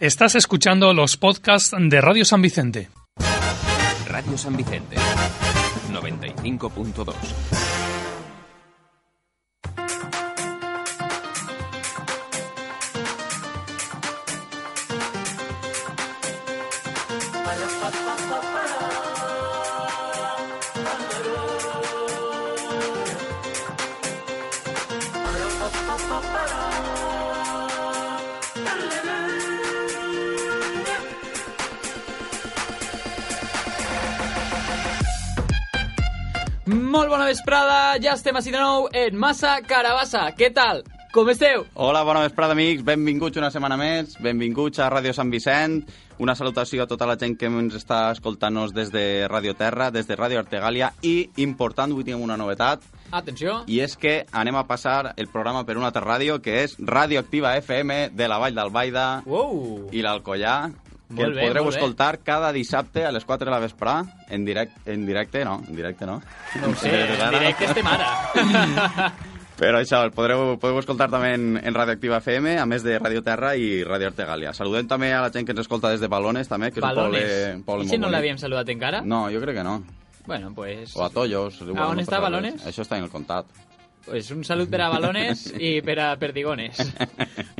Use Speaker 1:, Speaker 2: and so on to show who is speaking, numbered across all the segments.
Speaker 1: Estás escuchando los podcasts de Radio San Vicente.
Speaker 2: Radio San Vicente 95.2
Speaker 3: Molt bona vesprada, ja estem així de nou en Massa Carabassa. Què tal? Com esteu?
Speaker 4: Hola, bona vesprada, amics. Benvinguts una setmana més. Benvinguts a Ràdio Sant Vicent. Una salutació a tota la gent que ens està escoltant-nos des de Ràdio Terra, des de Ràdio Artegàlia i, important, avui tenim una novetat
Speaker 3: Atenció.
Speaker 4: i és que anem a passar el programa per una altra ràdio que és Ràdio Activa FM de la Vall d'Albaida
Speaker 3: Wow.
Speaker 4: i l'Alcoyà que
Speaker 3: Molt
Speaker 4: el
Speaker 3: bé,
Speaker 4: podreu
Speaker 3: molt bé.
Speaker 4: escoltar cada dissabte a les 4 de la vesprà en directe, en directe no, en directe no
Speaker 3: No ho sé,
Speaker 4: Ara.
Speaker 3: en directe estem ara.
Speaker 4: Però això, el podreu, podeu escoltar també en, en Radio Activa FM, a més de Radio Terra i Radio Artegàlia. Saludem també a la gent que ens escolta des de Balones, també, que
Speaker 3: Balones.
Speaker 4: és un poble, un poble
Speaker 3: I si
Speaker 4: molt
Speaker 3: no
Speaker 4: bonic.
Speaker 3: l'havíem saludat encara?
Speaker 4: No, jo crec que no.
Speaker 3: Bueno, pues...
Speaker 4: O a Tollos.
Speaker 3: A
Speaker 4: igual,
Speaker 3: Ah, on
Speaker 4: no
Speaker 3: està
Speaker 4: passa
Speaker 3: Balones?
Speaker 4: res. Això està en el comptat.
Speaker 3: Pues un salut per a balones i per a perdigones.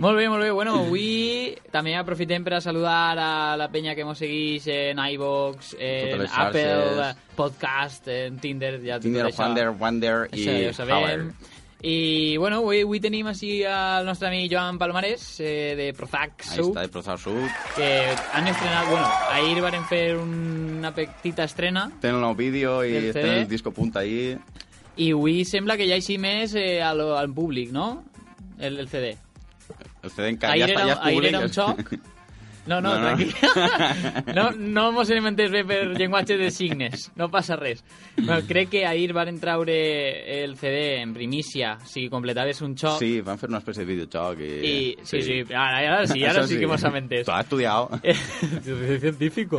Speaker 3: molt bé, molt bé. Bueno, avui també aprofitem per a saludar a la penya que mos seguix en iVox,
Speaker 4: Totes
Speaker 3: en
Speaker 4: les
Speaker 3: Apple
Speaker 4: xarxes.
Speaker 3: Podcast, en Tinder, ja tot
Speaker 4: Tinder,
Speaker 3: això.
Speaker 4: Wander, Wander i
Speaker 3: Això ja ho sabem.
Speaker 4: Power.
Speaker 3: I, bueno, avui, avui tenim així el nostre amic Joan Palomares, eh, de Prozac
Speaker 4: Ahí
Speaker 3: Soup,
Speaker 4: està, el Prozar Sud.
Speaker 3: que han estrenat, bueno, ahir van fer una petita estrena
Speaker 4: Tenen el nou vídeo
Speaker 3: Del CD.
Speaker 4: i tenen el disco punta ahí.
Speaker 3: i avui sembla que ja així més eh, al, al públic, no? El, el CD.
Speaker 4: El CD encara
Speaker 3: Ahir
Speaker 4: ja
Speaker 3: era,
Speaker 4: està, ja és
Speaker 3: ahir
Speaker 4: públic.
Speaker 3: era un xoc. No, no,
Speaker 4: No, no.
Speaker 3: tranquil. No, no mos hem entès bé per llenguatge de signes. No passa res. Bueno, crec que ahir van traure el CD en primícia. Si completaves un xoc,
Speaker 4: Sí, van fer una espècie de videojoc. I,
Speaker 3: Y sí, sí, ahora, ahora sí, ahora
Speaker 4: Això
Speaker 3: sí, que hemos mentido.
Speaker 4: T'ho has estudiat.
Speaker 3: científico.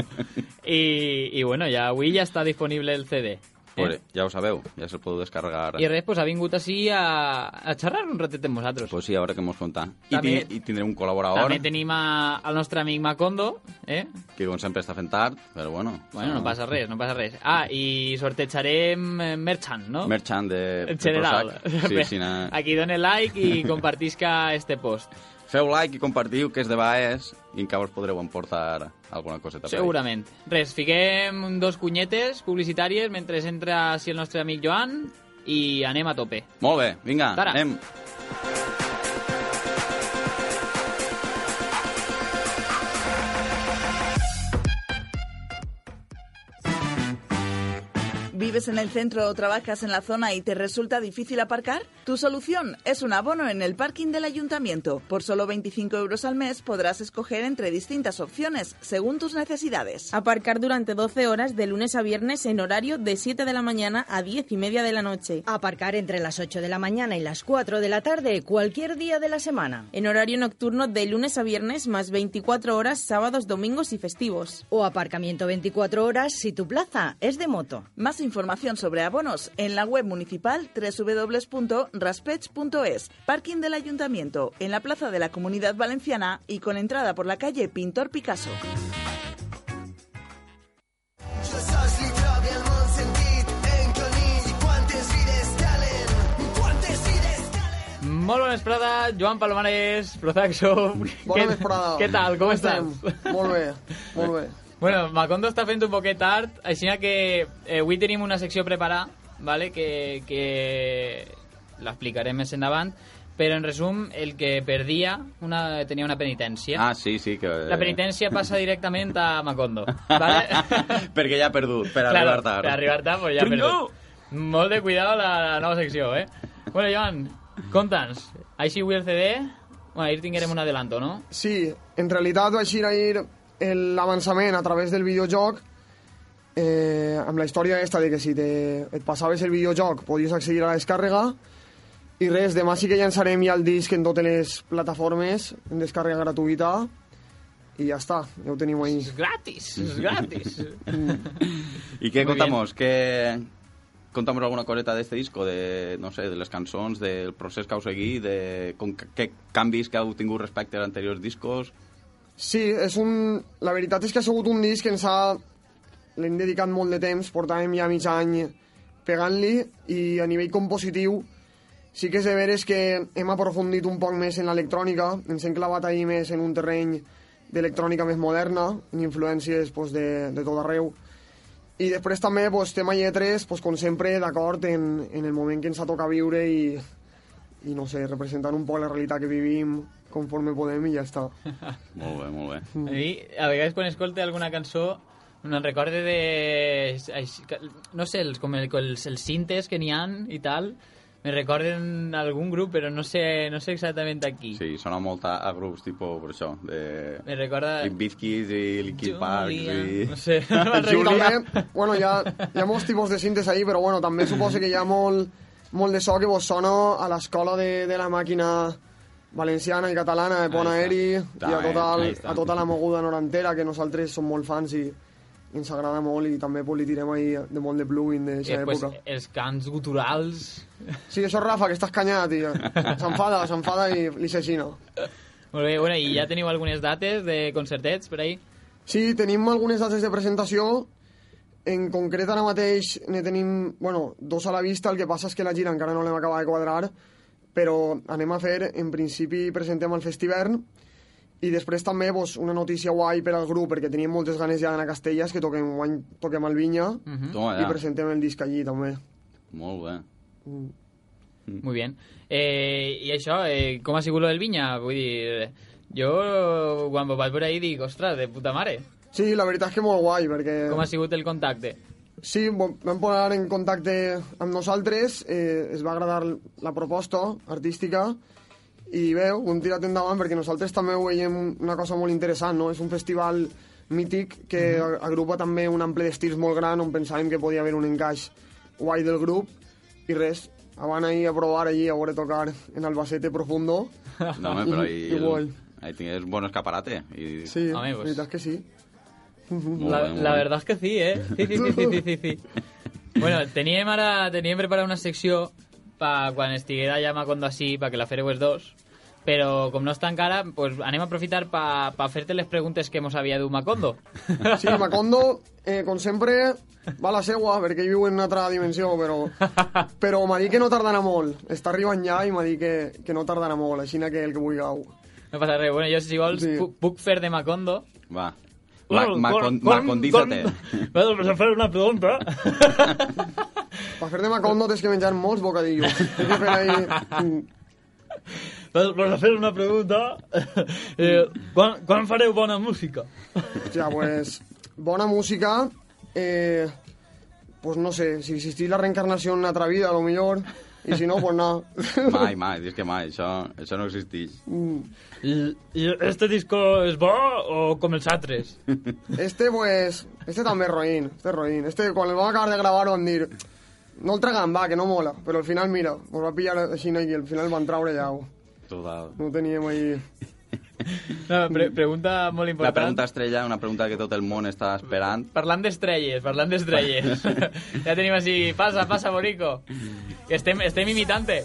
Speaker 3: Y, y bueno, ya Wii ya está disponible el CD. ¿eh?
Speaker 4: Pues, ja ho sabeu, ja se'l podeu descarregar.
Speaker 3: Y res, pues ha vingut así a, a charrar un ratete amb vosaltres.
Speaker 4: Pues sí, a veure què mos contar. I,
Speaker 3: També-
Speaker 4: tin- I tindré un col·laborador,
Speaker 3: També tenim a, al nostre amic Macondo, eh?
Speaker 4: que com sempre està fent tard, però bueno...
Speaker 3: Bueno, no passa res, no passa res. Ah, i sortejarem eh, merchant, no?
Speaker 4: Merchant de...
Speaker 3: en
Speaker 4: de
Speaker 3: general.
Speaker 4: Prozac. Sí, sí, na...
Speaker 3: Aquí done like i compartisca este post.
Speaker 4: Feu like i compartiu, que és de Baes, i encara us podreu emportar alguna coseta. per ahí.
Speaker 3: Segurament. Res, fiquem dos cunyetes publicitàries mentre entra així el nostre amic Joan i anem a tope.
Speaker 4: Molt bé, vinga,
Speaker 3: Tara.
Speaker 4: anem.
Speaker 5: ¿Vives en el centro o trabajas en la zona y te resulta difícil aparcar? Tu solución es un abono en el parking del ayuntamiento. Por solo 25 euros al mes podrás escoger entre distintas opciones según tus necesidades.
Speaker 6: Aparcar durante 12 horas de lunes a viernes en horario de 7 de la mañana a 10 y media de la noche.
Speaker 7: Aparcar entre las 8 de la mañana y las 4 de la tarde cualquier día de la semana.
Speaker 6: En horario nocturno de lunes a viernes más 24 horas sábados, domingos y festivos.
Speaker 7: O aparcamiento 24 horas si tu plaza es de moto.
Speaker 5: Más información sobre abonos en la web municipal www.raspech.es, parking del ayuntamiento, en la plaza de la Comunidad Valenciana y con entrada por la calle Pintor Picasso.
Speaker 3: Molt bona vesprada, Joan Palomares, Prozaxo.
Speaker 8: Bona vesprada.
Speaker 3: Què tal, com
Speaker 8: estem?
Speaker 3: estàs?
Speaker 8: Molt bé, molt bé.
Speaker 3: Bueno, Macondo està fent un poquet tard, així que eh, avui tenim una secció preparada, vale? que, que l'explicarem més endavant, però en resum, el que perdia una, tenia una penitència.
Speaker 4: Ah, sí, sí, que...
Speaker 3: La penitència passa directament a Macondo, vale?
Speaker 4: Perquè ja ha perdut, per
Speaker 3: Claro,
Speaker 4: arribar tard.
Speaker 3: Per arribar tard, pues ja he perdut. Molt de cuidado la, la nova secció, eh? Bueno, Joan, conta'ns. Així avui el CD... Bueno, ahir tinguerem un adelanto, no?
Speaker 8: Sí, en realitat va eixir ahir el- l'avançament a través del videojoc eh, amb la història aquesta de que si te, et passaves el videojoc podies accedir a la descàrrega i res, demà sí que llançarem ja el disc en totes les plataformes en descàrrega gratuïta i ja està, ja ho tenim ahí.
Speaker 3: És gratis, és gratis.
Speaker 4: I què
Speaker 3: Muy
Speaker 4: contamos? Que... Contamos alguna coseta d'este disco, de, no sé, de les cançons, del procés que heu seguit, de com, que, què canvis que heu tingut respecte a anteriors discos...
Speaker 8: Sí, és un... La veritat és que ha sigut un disc que ens ha... L'hem dedicat molt de temps, portàvem ja mig any pegant-li i a nivell compositiu sí que és de veres que hem aprofundit un poc més en l'electrònica, ens hem clavat ahir més en un terreny d'electrònica més moderna, amb influències pues, de, de tot arreu. I després també pues, tema lletres, pues, com sempre, d'acord en, en el moment que ens ha tocat viure i, i no sé, representant un poc la realitat que vivim conforme podem i ja està.
Speaker 4: Molt bé, molt bé.
Speaker 3: A mi, a vegades quan escolte alguna cançó, me'n recorde de... així que- No sé, els, com el, els, els cintes que n'hi han i tal, me recorden algun grup, però no sé, no sé exactament a qui.
Speaker 4: Sí, sona molt a, a grups tipus, per això, de...
Speaker 3: Me recorda...
Speaker 4: Limp Bizkit i Linkin Park i...
Speaker 3: No sé. me'n
Speaker 4: Julia.
Speaker 3: recorda-
Speaker 8: També, bueno, hi ha, hi ha molts tipus de cintes ahir, però bueno, també suposo que hi ha molt, molt de so que vos sona a l'escola de, de la màquina valenciana i catalana de Pon
Speaker 4: Ahí està.
Speaker 8: Aeri i a
Speaker 4: També,
Speaker 8: tota,
Speaker 4: ahí
Speaker 8: el,
Speaker 4: està.
Speaker 8: a tota la moguda norantera, que nosaltres som molt fans i ens agrada molt i també pues, li tirem ahir de molt de plugin
Speaker 4: Eh,
Speaker 3: I
Speaker 8: d'aquesta
Speaker 3: després
Speaker 8: època.
Speaker 3: Eh, els cants guturals...
Speaker 8: Sí, això és Rafa, que estàs canyat, i s'enfada, s'enfada i li s'aixina.
Speaker 3: Molt bé, bueno, i ja teniu algunes dates de concertets per ahí?
Speaker 8: Sí, tenim algunes dates de presentació. En concret, ara mateix ne tenim bueno, dos a la vista. El que passa és que la gira encara no l'hem acabat de quadrar, però anem a fer, en principi, presentem el Festivern i després també pues, una notícia guai per al grup, perquè teníem moltes ganes ja d'anar a Castelles, que toquem, guany, toquem al Vinya
Speaker 4: Mhm. Mm-hmm. Toma,
Speaker 8: i
Speaker 4: ja.
Speaker 8: presentem el disc allí, també.
Speaker 4: Molt bé. Mm.
Speaker 3: Muy bien. Eh, I això, eh, com ha sigut lo del Vinya? Vull dir, eh, jo quan vaig per ahí dic, ostres, de puta mare.
Speaker 8: Sí, la veritat és que molt guai, perquè...
Speaker 3: Com ha sigut el contacte?
Speaker 8: Sí, vo- vam posar en contacte amb nosaltres, eh, es va agradar la proposta artística i bé, ho hem tirat endavant perquè nosaltres també ho veiem una cosa molt interessant, no? És un festival mític que a- agrupa també un ample d'estils molt gran on pensàvem que podia haver un encaix guai del grup i res, van ahir a provar allí a veure tocar en Albacete Profundo.
Speaker 4: No, home, però ahí...
Speaker 8: Igual.
Speaker 4: El, ahí tienes un bon escaparate. I...
Speaker 8: Sí,
Speaker 3: Home,
Speaker 8: la
Speaker 3: pues.
Speaker 8: veritat és que sí.
Speaker 4: Molt
Speaker 3: La,
Speaker 4: bé, molt
Speaker 3: la
Speaker 4: bé.
Speaker 3: verdad es que sí, ¿eh? Sí, sí, sí, sí, sí, sí, sí. Bueno, teníem ara teníem preparada una secció pa quan estiguera ja Macondo així, pa que la fereu els dos, però com no està encara, pues anem a aprofitar pa, pa fer-te les preguntes que mos havia dut Macondo.
Speaker 8: Sí, Macondo, eh, com sempre, va a la seua, perquè ell viu en una altra dimensió, però, però m'ha dit que no tardarà molt. Està arribant ja i m'ha dit que, que no tardarà molt, així que el que vulgueu.
Speaker 3: No passa res. Bueno, jo, si vols,
Speaker 8: Sí.
Speaker 3: puc, puc fer de Macondo.
Speaker 4: Va. La, macon, macondízate.
Speaker 3: Bueno, pues a fer una pregunta.
Speaker 8: Per fer de Macondo tens que menjar molts bocadillos. Tens que fer ahí... Mm.
Speaker 3: Pues a fer una pregunta. Eh, quan, quan fareu bona música?
Speaker 8: Hòstia, pues, bona música, eh, pues no sé, si existís la reencarnació en una altra vida, a lo millor, i si no, pues nada. Mm.
Speaker 4: Mai, mai, dius que mai, això, això no existeix.
Speaker 3: I, i este disco és bo o com els altres?
Speaker 8: Este, pues... Este també és roïn, este és roïn. Este, quan el vam acabar de gravar, vam dir... No el tragam, va, que no mola. Però al final, mira, ens va pillar així no, i al final el van traure ja. ho.
Speaker 4: Total.
Speaker 8: oh. No teníem ahí...
Speaker 3: No, pre pregunta molt
Speaker 4: La
Speaker 3: important.
Speaker 4: pregunta estrella, una pregunta que tot el món està esperant.
Speaker 3: Parlant d'estrelles, parlant d'estrelles. ja tenim així... Passa, passa, Borico. Que Estem, estem imitant-te.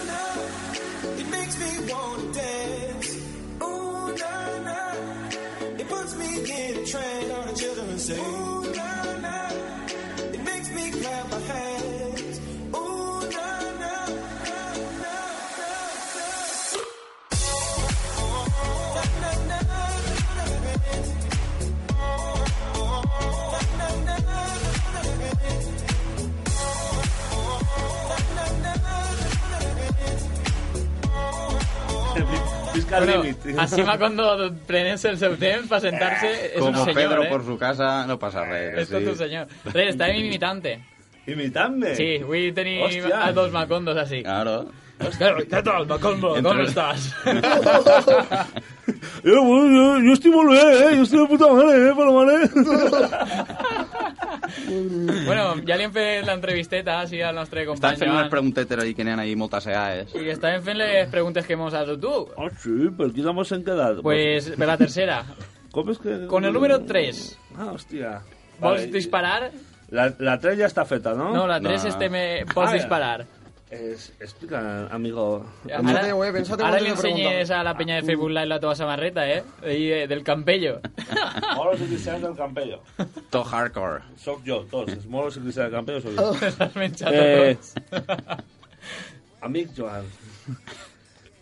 Speaker 9: It makes me wanna dance. Ooh na na. It puts me in a trance. All the children say. Ooh na na. It makes me clap my hands. Ooh na na na na na na. Na na na na na na. Na na na na na na.
Speaker 3: Bueno, així va quan prenent el seu temps per sentar-se. És
Speaker 4: Como
Speaker 3: un senyor,
Speaker 4: Pedro
Speaker 3: eh?
Speaker 4: por su casa, no passa res. que
Speaker 3: És tot un senyor. Res, estàvem imitant-te.
Speaker 10: Imitant-me?
Speaker 3: Sí, avui tenim
Speaker 10: Hòstia.
Speaker 3: a dos macondos així.
Speaker 10: Ah.
Speaker 4: Claro.
Speaker 3: Què tal, macondo? Com
Speaker 4: Entre-
Speaker 3: estàs?
Speaker 10: Eh, bueno, jo, jo estic molt bé, eh? Jo estic de puta mare, eh, Palomar, eh?
Speaker 3: bueno, ja li hem fet l'entrevisteta així al nostre company
Speaker 4: Estan fent unes
Speaker 3: Joan.
Speaker 4: preguntetes ahí que n'hi ha ahí moltes EAEs.
Speaker 3: I estàvem fent les preguntes que mos has dut tu.
Speaker 10: Ah, sí, per aquí també s'han quedat.
Speaker 3: Pues, per la tercera.
Speaker 10: Com és que...
Speaker 3: Con el número 3,
Speaker 10: Ah, hòstia.
Speaker 3: vols
Speaker 10: Vale.
Speaker 3: disparar?
Speaker 10: La, la 3 ja està feta, no?
Speaker 3: No, la
Speaker 4: No,
Speaker 3: 3
Speaker 4: no.
Speaker 3: este me... vols
Speaker 10: Ah, ja.
Speaker 3: disparar.
Speaker 10: Es- explica, amigo.
Speaker 3: Ahora,
Speaker 10: amigo.
Speaker 8: eh,
Speaker 3: ahora le enseñes a la
Speaker 10: Ah,
Speaker 3: peña de
Speaker 10: uh.
Speaker 3: Facebook Live la toda samarreta, ¿eh? Ahí, eh, del campello.
Speaker 10: Moros y cristianos del Campello.
Speaker 4: To hardcore.
Speaker 10: Soy yo, todos. Els moros i cristianos del Campello soy yo.
Speaker 3: menjat
Speaker 10: Eh, amic Joan,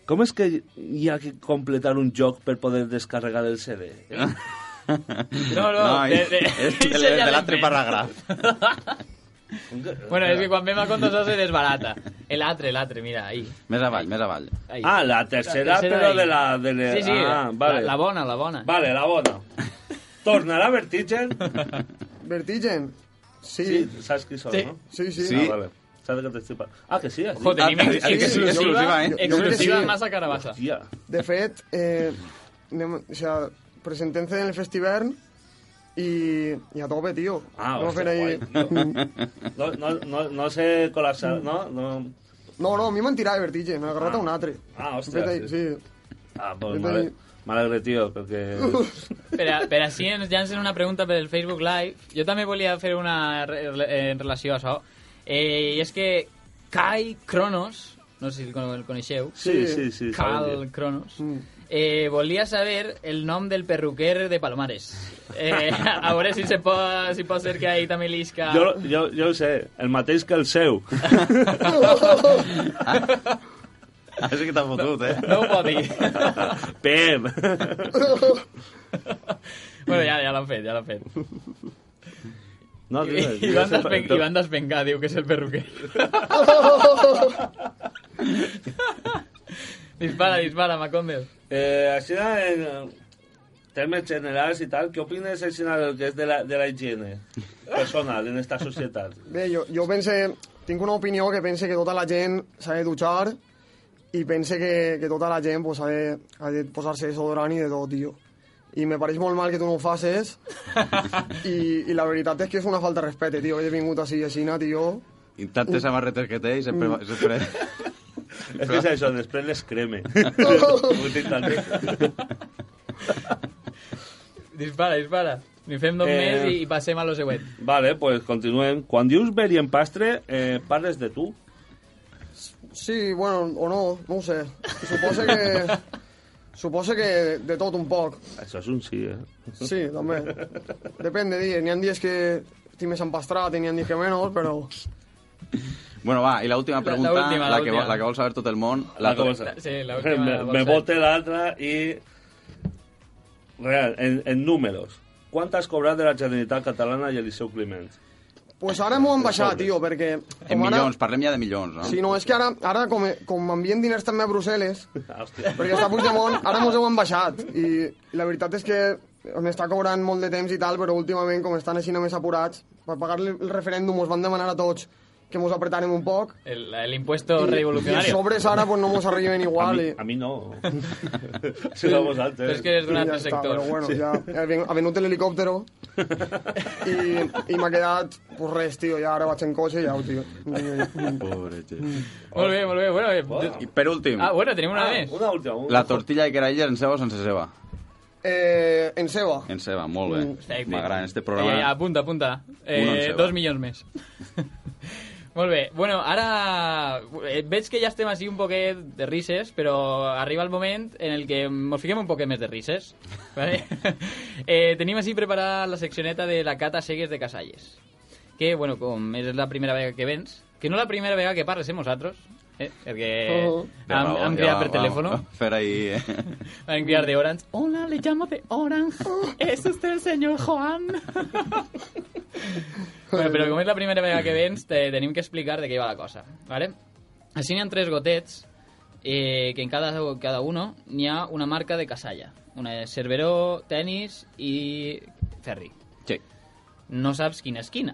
Speaker 10: com és que hi ha que completar un joc per poder descarregar el CD?
Speaker 3: No, no, No, de- de- és de- de- de l'altre
Speaker 4: paràgraf.
Speaker 3: Bueno,
Speaker 10: eh.
Speaker 3: es que cuando me va con dos se desbarata. El atre, el atre, mira, ahí.
Speaker 4: Més avall, més avall.
Speaker 3: ahí.
Speaker 10: Ah, la tercera,
Speaker 3: La tercera
Speaker 10: però
Speaker 3: ahí.
Speaker 10: de la... De la
Speaker 3: Sí, sí,
Speaker 10: ah,
Speaker 3: la-
Speaker 10: vale.
Speaker 3: la bona, la bona.
Speaker 10: Vale, la bona. Tornarà Vertigen?
Speaker 8: Vertigen? Sí.
Speaker 10: Sí, saps qui són,
Speaker 8: Sí.
Speaker 10: no?
Speaker 8: Sí, sí.
Speaker 10: Ah, vale. Saps que t'estipa. Ah, que sí? eh?
Speaker 8: Jo, tenim
Speaker 10: Ah, que-
Speaker 8: exclusiva,
Speaker 10: que sí, exclusiva, eh?
Speaker 8: Jo- jo crec que
Speaker 3: Exclusiva
Speaker 8: sí.
Speaker 3: massa carabassa.
Speaker 10: Hòstia.
Speaker 8: De fet, eh, anem, o sea, presentem-se en el festivern i, i a tope, tio.
Speaker 10: Ah,
Speaker 8: Anem
Speaker 10: hòstia,
Speaker 8: fent ahí-
Speaker 10: guai. No, no, no, no sé col·lapsar, no? no.
Speaker 8: No, no, a mi m'han tirat de vertigen, m'ha agarrat a un altre.
Speaker 10: Ah,
Speaker 8: Hem fet
Speaker 10: hòstia.
Speaker 8: ahí-
Speaker 10: Sí.
Speaker 8: sí.
Speaker 10: Ah, pues m'ale- m'alegre, tio, perquè...
Speaker 3: Pero, pero así ens llancen una pregunta por el Facebook Live. Yo también volia hacer una re- en relación a eso. Eh, y es que Kai Cronos, no sé si el coneixeu.
Speaker 10: Sí, sí, sí,
Speaker 3: Cal
Speaker 10: sabem
Speaker 3: Cronos. Eh, volia saber el nombre del perruquer de Palomares. Eh, a veure si se pot, si pot ser que ahí también lisca...
Speaker 10: Jo, jo, jo ho sé, el mateix que el seu.
Speaker 4: Així que t'ha fotut, eh?
Speaker 3: No ho pot dir.
Speaker 10: Pem!
Speaker 3: bueno, ja, ja l'han fet, ja l'han fet.
Speaker 10: No,
Speaker 3: I,
Speaker 10: digues,
Speaker 3: i,
Speaker 10: digues
Speaker 3: van
Speaker 10: el
Speaker 3: despen
Speaker 10: per-
Speaker 3: I van despencar, diu que és el perruquer. dispara, dispara, Macondes.
Speaker 10: Eh, així, en termes generals i tal, què opines així del que és de la, de la higiene personal en esta societat?
Speaker 8: Bé, jo, jo pense, tinc una opinió que pense que tota la gent s'ha de dutxar i pense que, que tota la gent pues, ha de, ha de posar-se desodorant i de tot, tio. I me pareix molt mal que tu no ho facis i, i la veritat és que és una falta de respecte, tio. He vingut així, així, tio.
Speaker 4: I tantes samarretes que té i sempre... va- sempre...
Speaker 10: És que és això, després les creme. Ho tinc també.
Speaker 3: Dispara, dispara. Ni fem dos
Speaker 10: Eh.
Speaker 3: més i, i passem a lo següent.
Speaker 10: Vale, pues continuem. Quan dius veri en pastre, eh, parles de tu?
Speaker 8: Sí, bueno, o no, no ho sé. Suposo que... Suposo que de tot un poc.
Speaker 10: Això és un sí, eh?
Speaker 8: Sí, també. Depèn de dies. N'hi ha dies que estic més empastrat i n'hi ha dies que menys, però...
Speaker 4: Bueno, va, i l'última
Speaker 8: La-
Speaker 4: pregunta, la,
Speaker 8: l'última,
Speaker 4: la, que,
Speaker 8: l'última.
Speaker 4: vol- la que vol saber tot el món.
Speaker 10: La que vol saber.
Speaker 3: Sí, la última,
Speaker 10: me,
Speaker 3: la
Speaker 10: me
Speaker 3: bolsa.
Speaker 10: vote l'altra i... Real, en, en números. Quant has cobrat de la Generalitat Catalana i Eliseu Climent?
Speaker 8: Pues ara m'ho han baixat, tio, perquè...
Speaker 4: En
Speaker 8: com ara-
Speaker 4: milions, parlem ja de milions, no?
Speaker 8: Sí, no, és que ara, ara com, com m'envien diners també a Brussel·les,
Speaker 10: Hòstia.
Speaker 8: perquè està a Puigdemont, ara mos heu embaixat. I, i la veritat és que m'està cobrant molt de temps i tal, però últimament, com estan així només apurats, per pagar el el referèndum mos van demanar a tots que mos apretarem un poc.
Speaker 3: El, el impuesto
Speaker 8: I els
Speaker 3: revolucionario.
Speaker 8: sobres ara pues, no mos arriben igual. i...
Speaker 10: A mi no. Això no vosaltres.
Speaker 3: Però és que eres d'un altre
Speaker 8: Ja està,
Speaker 3: sector.
Speaker 8: Però bueno, sí. ja, ha ven- ha venut l'helicòptero i, i m'ha quedat, pues res, tio, ja ara vaig en cotxe i ja, tio.
Speaker 4: Pobre gent.
Speaker 3: Molt bé, molt bé. Bueno, eh,
Speaker 4: I per últim,
Speaker 3: Ah, bueno, tenim una més.
Speaker 10: Una última.
Speaker 4: la tortilla de caralles en ceba o sense ceba?
Speaker 8: Eh, en ceba.
Speaker 4: En ceba, molt bé.
Speaker 3: Perfecte.
Speaker 4: M'agrada
Speaker 3: Ja,
Speaker 4: este
Speaker 3: ja,
Speaker 4: programa.
Speaker 3: Eh, apunta, apunta.
Speaker 4: Una en
Speaker 3: Eh,
Speaker 4: ceba.
Speaker 3: dos milions més. Molt bé. Bueno, ara eh, veig que ja estem així un poquet de risses, però arriba el moment en el que ens fiquem un poquet més de risses. Vale? eh, tenim així preparada la seccioneta de la Cata Segues de Casalles. Que, bueno, com és la primera vegada que vens, que no la primera vegada que parles, eh, nosaltres, eh, perquè
Speaker 2: Oh.
Speaker 3: hem,
Speaker 4: De raó,
Speaker 3: hem
Speaker 4: ja
Speaker 3: cridat
Speaker 4: va-
Speaker 3: per
Speaker 4: va-
Speaker 3: telèfon.
Speaker 4: va Fer ahí... eh?
Speaker 3: Van a enviar de Orange. Hola, le llamo de Orange. ¿Es usted el señor Juan? bueno, però com és la primera vegada que vens, te tenim que explicar de què va la cosa. ¿vale? Així n'hi ha tres gotets, eh, que en cada, cada uno n'hi ha una marca de casalla. Una de Cerveró, tennis i ferri.
Speaker 4: Sí.
Speaker 3: No saps quina és quina.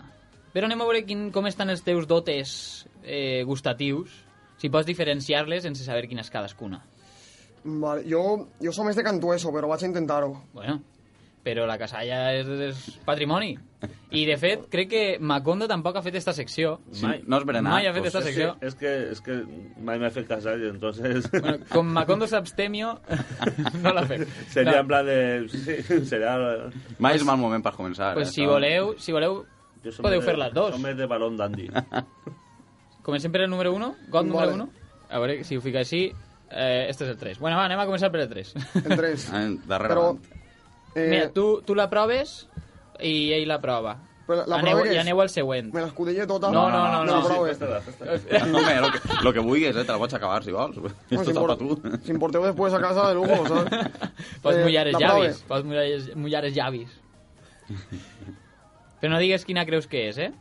Speaker 3: Però anem a veure quin, com estan els teus dotes eh, gustatius, si pots diferenciar-les sense saber quina és cadascuna.
Speaker 8: Vale, jo, jo som més de Cantueso, però vaig a intentar-ho.
Speaker 3: Bueno, però la casalla és, és patrimoni. I, de fet, crec que Macondo tampoc ha fet esta secció. Mai ha fet esta
Speaker 10: és,
Speaker 3: secció.
Speaker 10: que, és, que, és que mai m'ha fet casar, i ¿eh? entonces...
Speaker 3: Bueno, com Macondo s'abstemio, no l'ha fet.
Speaker 10: Seria
Speaker 3: No.
Speaker 10: en plan de... Sí, seria...
Speaker 4: Mai és mal moment per començar.
Speaker 3: Pues
Speaker 4: eh,
Speaker 3: si
Speaker 4: això.
Speaker 3: voleu, si voleu,
Speaker 10: Jo som
Speaker 3: podeu
Speaker 10: de-
Speaker 3: fer les dos.
Speaker 10: Som més de balón d'Andy.
Speaker 3: Comencem sempre el número 1? God número
Speaker 8: Vale.
Speaker 3: 1? A veure si ho fica així. Eh, este és el 3. Bueno, va, anem a començar per el 3.
Speaker 8: El 3.
Speaker 10: Ah,
Speaker 4: Darrere.
Speaker 8: Però, eh,
Speaker 3: Mira, tu, tu la proves i ell la prova.
Speaker 8: Però la
Speaker 3: aneu,
Speaker 8: prova què
Speaker 3: I
Speaker 8: és?
Speaker 3: aneu al següent.
Speaker 8: me l'escudella tota...
Speaker 3: No, no, no, no.
Speaker 8: La prova és.
Speaker 4: Home, lo que, lo que vulguis, eh, te la pots acabar, si vols. És
Speaker 8: si
Speaker 4: tot
Speaker 8: por-
Speaker 4: per tu.
Speaker 8: Si em porteu després a casa de lujo, saps?
Speaker 3: Pots
Speaker 8: Eh,
Speaker 3: mullar els
Speaker 8: la
Speaker 3: llavis.
Speaker 8: prova.
Speaker 3: Pots mullar, els- mullar els llavis. Però no digues quina creus que és, eh?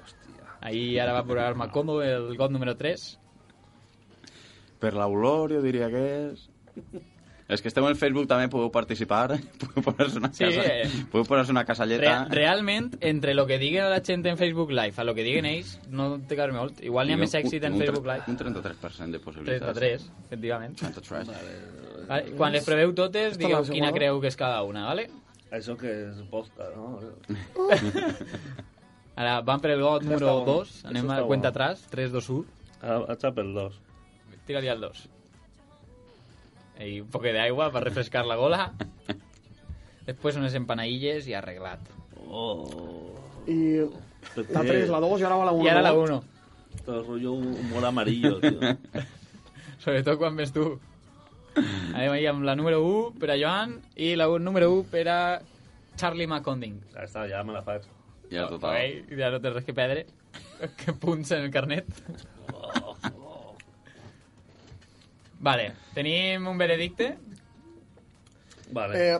Speaker 3: Hòstia. Ahir ara va provar-me còmode el got número 3.
Speaker 4: Per l'olor, jo diria que és... És que esteu en Facebook també, podeu participar, eh? podeu posar-se una,
Speaker 3: Sí,
Speaker 4: casa,
Speaker 3: eh.
Speaker 4: podeu posar una
Speaker 3: Re
Speaker 4: casalleta.
Speaker 3: realment, entre lo que diguen la gent en Facebook Live a lo que diguen ells, no té que haver molt. Igual n'hi ha més èxit en
Speaker 4: Un- un
Speaker 3: Facebook
Speaker 4: tre-
Speaker 3: Live.
Speaker 4: Un 33% de possibilitats.
Speaker 3: 33, efectivament.
Speaker 4: 33.
Speaker 3: Vale, quan les preveu totes,
Speaker 8: Esta
Speaker 3: digueu
Speaker 8: la
Speaker 3: quina
Speaker 8: segona.
Speaker 3: creu que és cada una, ¿vale?
Speaker 10: Eso que es posta, ¿no?
Speaker 3: Ara van per el got número
Speaker 10: està bo.
Speaker 3: 2, anem
Speaker 10: Això
Speaker 3: a
Speaker 10: està
Speaker 3: la cuenta
Speaker 10: bo.
Speaker 3: atrás, 3, 2, 1.
Speaker 10: A, a Chapel 2.
Speaker 3: Tira-li al 2. I un poc d'aigua per refrescar la gola. Després unes empanadilles i arreglat.
Speaker 10: Oh.
Speaker 8: I la 3, la 2 i ara va la 1.
Speaker 3: I ara la 1,
Speaker 10: Todo rollo humor amarillo, tío.
Speaker 3: sobretot quan ves tu. Anem ahir amb la número 1 per a Joan i la u- número 1 per a Charlie McConding.
Speaker 10: Ya está, ya me la faig.
Speaker 4: Ja és total.
Speaker 3: Ei, ja no tens res que perdre. Que punts en el carnet. Vale, tenim un veredicte.
Speaker 10: Vale.
Speaker 8: Eh,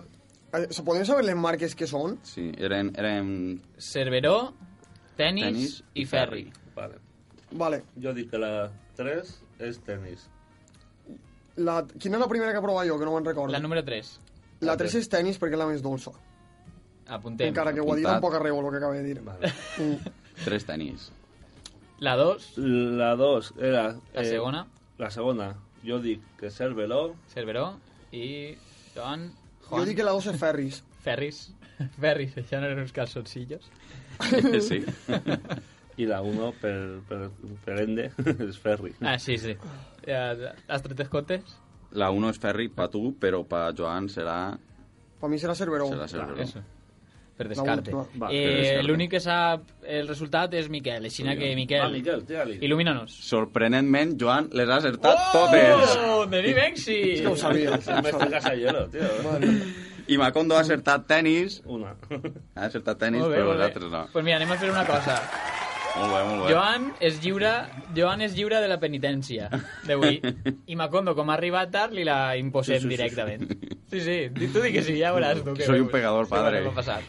Speaker 8: eh, se podem saber les marques que són?
Speaker 4: Sí, eren, eren
Speaker 3: Cerveró, tenis,
Speaker 4: Tenis
Speaker 3: i ferri.
Speaker 10: Vale.
Speaker 8: Vale.
Speaker 10: Yo dic que la 3 es tenis.
Speaker 8: La, quina és la primera que prova jo, que no me'n recordo?
Speaker 3: La número 3.
Speaker 8: La 3 és tenis perquè és la més dolça.
Speaker 3: Apuntem.
Speaker 8: Encara que ho ha dit
Speaker 4: apuntat.
Speaker 8: amb poc arreu, el que acaba de dir.
Speaker 10: Vale.
Speaker 4: tres tenis.
Speaker 3: La 2,
Speaker 10: La 2 era...
Speaker 3: la
Speaker 10: eh,
Speaker 3: segona,
Speaker 10: La segona. Jo dic que ser veló.
Speaker 3: Cerveró i Don Juan
Speaker 8: Jo dic que la 2 és Ferris.
Speaker 3: Ferris. Ferris, això no eren uns calçoncillos.
Speaker 4: sí.
Speaker 10: I la 1 per, per, per ende és ferri.
Speaker 3: Ah, sí, sí. Ja, Has tret els comptes?
Speaker 4: La 1 és Ferri pa tu, però pa Joan serà...
Speaker 8: Per mi serà Cerveró.
Speaker 4: serà Cerveró.
Speaker 3: Eso. Per descarte.
Speaker 8: última.
Speaker 10: Va,
Speaker 4: per
Speaker 3: Eh,
Speaker 4: descarte.
Speaker 3: L'únic que sap el resultat és Miquel. Així que,
Speaker 10: Va,
Speaker 3: Miquel,
Speaker 10: Miquel, tira-li.
Speaker 3: il·lumina-nos.
Speaker 4: Sorprenentment, Joan, les ha acertat totes.
Speaker 3: Oh, tenim èxit!
Speaker 8: És que ho sabia.
Speaker 10: Sempre estic a Sayelo, tio.
Speaker 4: I Macondo ha acertat tenis.
Speaker 10: Una.
Speaker 4: Ha acertat tenis, però les altres no.
Speaker 3: Pues mira, anem a fer una cosa.
Speaker 4: Molt bé, molt bé.
Speaker 3: Joan es lliura, Joan es lliura de la penitència d'avui. I Macondo, com ha arribat tard, li la
Speaker 10: Sí, sí,
Speaker 3: imposem
Speaker 10: sí, sí.
Speaker 3: directament. Sí, sí, di- tu digues sí, ja veuràs tu. que
Speaker 4: Soy un
Speaker 3: veus.
Speaker 4: pecador,
Speaker 3: Sí, bueno,
Speaker 4: padre.
Speaker 3: què va passar.